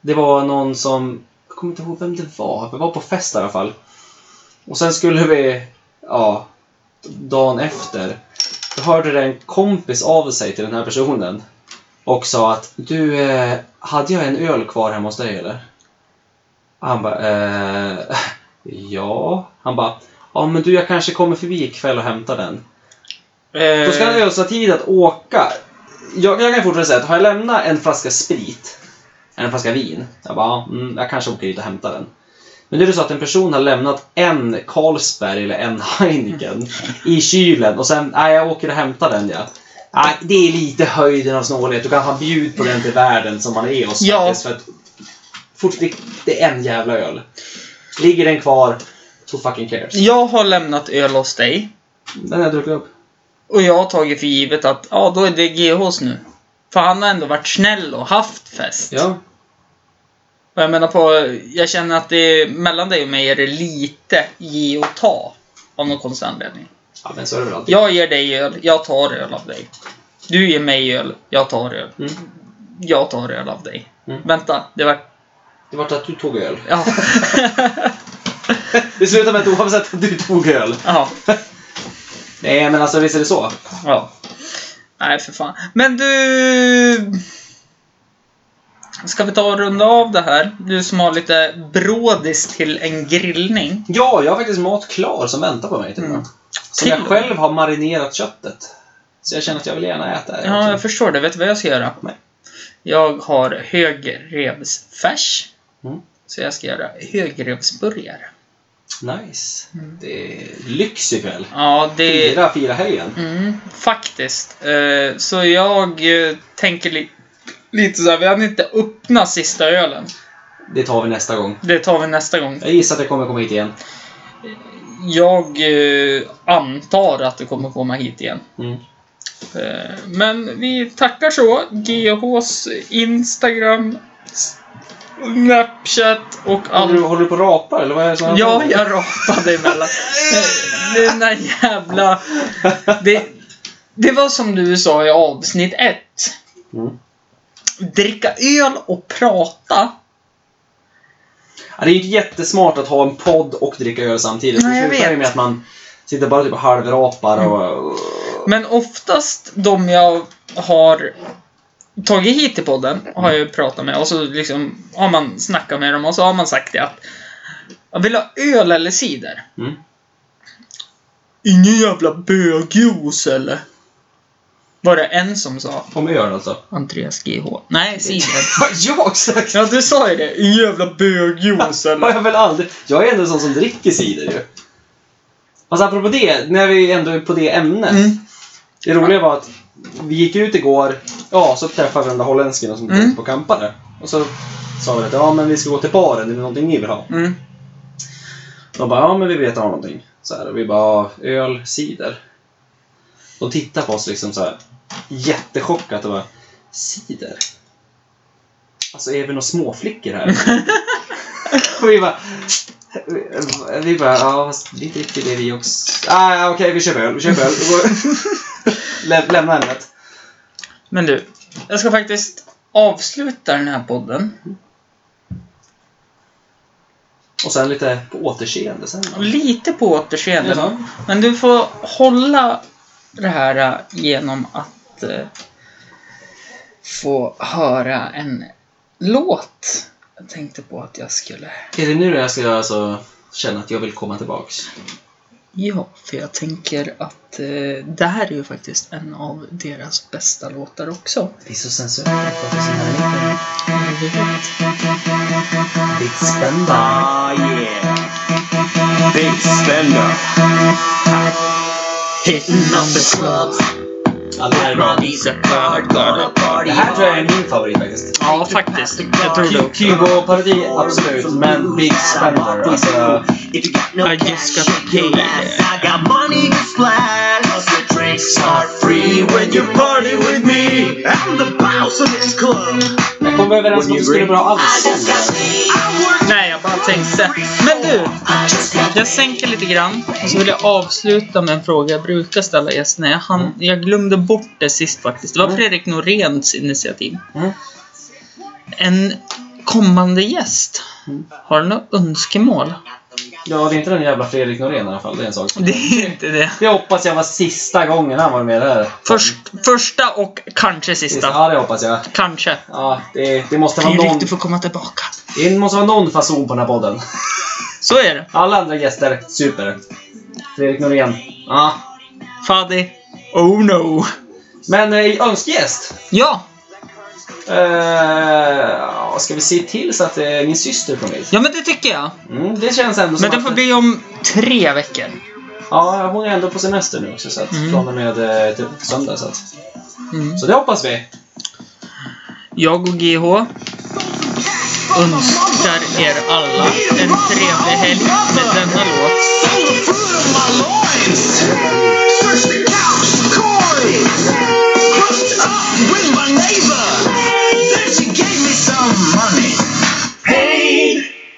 S3: Det var någon som... Jag kommer inte ihåg vem det var. Vi var på fest i alla fall. Och sen skulle vi... Ja. Dagen efter. Då hörde det en kompis av sig till den här personen. Och sa att du, eh, hade jag en öl kvar hemma hos dig eller? Han bara, eh, ja. Han bara, ja men du jag kanske kommer förbi ikväll och hämtar den. Då ska han
S2: Eh,
S3: ödsla tid att åka. Jag, jag kan fortfarande säga att har jag lämnat en flaska sprit, en flaska vin, jag bara, ja, mm, jag kanske åker dit och hämtar den. Men nu är det så att en person har lämnat en Carlsberg eller en Heineken i kylen och sen, nej jag åker och hämtar den ja. Nej, det är lite höjden av snålhet. Du kan ha bjud på den till världen som man är oss
S2: Ja.
S3: faktiskt. För att, fort, det, det är en jävla öl. Ligger den kvar, who fucking cares?
S2: jag har lämnat öl hos dig.
S3: Den har jag druckit upp.
S2: Och jag har tagit för givet att ja, då är det GHs nu. För han har ändå varit snäll och haft fest.
S3: Ja.
S2: Och jag menar på, jag känner att det är, mellan dig och mig är det lite ge och ta. Av någon konstig anledning.
S3: ja, men så är det väl alltid.
S2: Jag ger dig öl, jag tar öl av dig. Du ger mig öl, jag tar öl.
S3: Mm.
S2: Jag tar öl av dig.
S3: Mm.
S2: Vänta, det var...
S3: Det vart att du tog öl.
S2: Ja.
S3: Det slutade med att oavsett att du tog öl.
S2: ja.
S3: Nej, men alltså visst är det så.
S2: Ja. Nej, för fan. Men du... Ska vi ta och runda av det här? Du som har lite brådis till en grillning.
S3: Ja, jag har faktiskt mat klar som väntar på mig. Typ.
S2: Mm.
S3: Som jag
S2: Till-
S3: själv har marinerat köttet. Så jag känner att jag vill gärna äta det.
S2: Ja,
S3: också.
S2: jag förstår det. Vet du vad jag ska göra?
S3: Nej.
S2: Jag har högrevsfärs.
S3: Mm.
S2: Så jag ska göra högrevsburgare.
S3: Nice. Det är lyx ikväll.
S2: Ja, Mm. det...
S3: Fira, fira helgen.
S2: Mm, faktiskt. Eh, Så jag eh, tänker li- lite så här. Vi hann inte öppna sista ölen.
S3: Det tar vi nästa gång.
S2: Det tar vi nästa gång.
S3: Jag gissar att jag kommer komma hit igen.
S2: Jag eh, antar att du kommer komma hit igen.
S3: Mm.
S2: Eh, men vi tackar så. GHs Instagram, Snapchat och
S3: Håller, du,
S2: allt.
S3: håller du på och rapar eller vad är det som händer?
S2: Ja, jag rapade emellan. Eh, Denna jävla... Det, det var som du sa i avsnitt ett.
S3: Mm.
S2: Dricka öl och prata.
S3: Ja, det är ju inte jättesmart att ha en podd och dricka öl samtidigt.
S2: Nej, jag
S3: det slutar ju
S2: vet. Mm.
S3: med att man sitter bara typ och halvrapar och...
S2: Men oftast de jag har tagit hit till podden har jag ju pratat med och så liksom har man snackat med dem och så har man sagt det att jag vill ha öl eller cider.
S3: Mm.
S2: Ingen jävla bögjuice eller? Var det en som sa?
S3: Om öl alltså.
S2: Andreas GH. Nej, cider.
S3: ja, exakt!
S2: ja, du sa ju det. Ingen jävla bögjuice
S3: har
S2: eller?
S3: jag väl aldrig. Jag är ändå en sån som dricker cider ju. Alltså apropå det, när vi ändå är på det ämnet.
S2: Mm.
S3: Det roliga var att vi gick ut igår, ja, så träffade vi den där holländsken som
S2: Mm.
S3: mm. på kampade. Och så sa vi att ja, men vi ska gå till baren, är det någonting ni vill ha?
S2: Mm.
S3: De bara, ja men vi vet att de har någonting. Så här, och vi bara, "Ja, öl, cider. De tittar på oss liksom så här, jättechockat och bara, cider? Alltså är vi några småflickor här? och vi bara, vi bara, ja fast vi dricker det vi också. Ah, ja, okej, vi köper öl, vi köper öl. Och går- Lä- Lämna ämnet.
S2: Men du, jag ska faktiskt avsluta den här podden.
S3: Och sen lite på återseende sen. då.
S2: Lite på återseende.
S3: Jaha.
S2: Men du får hålla det här eh, genom att eh, få höra en låt. Jag tänkte på att jag skulle...
S3: Är det nu jag ska alltså känna att jag vill komma tillbaks?
S2: Ja, för jag tänker att eh, det här är ju faktiskt en av deras bästa låtar också.
S3: Det är så sensuellt att prata så här. Ditt spända.
S4: Ah yeah. Big spender.
S2: Hitting on the clubs, Everybody's a third, gonna party
S3: Det här tror jag är min favorit faktiskt.
S2: Ja, faktiskt. Jag tror det också.
S3: Kygo-parodi, absolut. Men Big Spender, alltså.
S7: If you got no
S2: I just
S7: cash,
S2: got
S7: shake your
S2: paid.
S7: ass. I got money to splash. Cause the drinks are free when you party with me. I'm the boss of this club.
S3: Jag kom överens om att du skulle dra alla
S7: I just got
S3: sånger.
S7: paid. I work.
S2: Nej, jag bara tänkte. Men du,
S7: I just got
S2: jag sänker lite grann. Och så vill jag avsluta med en fråga jag brukar ställa gästerna. Jag, hann, jag glömde bort det sist faktiskt. Det var Fredrik Noréns initiativ.
S3: Mm.
S2: En kommande gäst. Har du något önskemål?
S3: Ja, det är inte den jävla Fredrik Norén i alla fall. Det är en sak. som-
S2: Det är inte det.
S3: Det hoppas jag var sista gången han var med där.
S2: Först, första och kanske sista.
S3: Ja, det hoppas jag.
S2: Kanske.
S3: Ja, det, det, måste vara någon,
S2: Fredrik, du får komma tillbaka.
S3: det måste vara någon fason på den här podden.
S2: Så är det.
S3: Alla andra gäster, super. Fredrik Norén. Ja.
S2: Fadi. Oh no.
S3: Men eh, önskegäst?
S2: Ja,
S3: Eh, ja, ska vi se till så att eh, min syster kommer hit?
S2: ja men det tycker jag.
S3: Mm, det känns ändå som
S2: Men det
S3: att-
S2: får bli om tre veckor.
S3: Ja, hon är ändå på semester nu också, så att
S2: Mm.
S3: från och med eh, typ söndag. Så, att,
S2: Mm.
S3: så det hoppas vi.
S2: Jag och GH önskar er alla en trevlig helg med denna låt.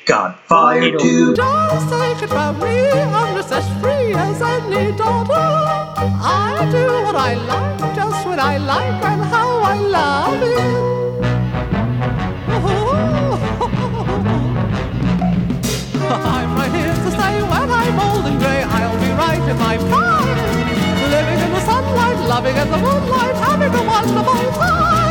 S7: Godfire to
S1: Just take it from me, I'm just as free as any daughter. I do what I like, just what I like, and how I love it. I'm right here to say when I'm old and grey, I'll be right in my prime. Living in the sunlight, loving in the moonlight, having a wonderful time.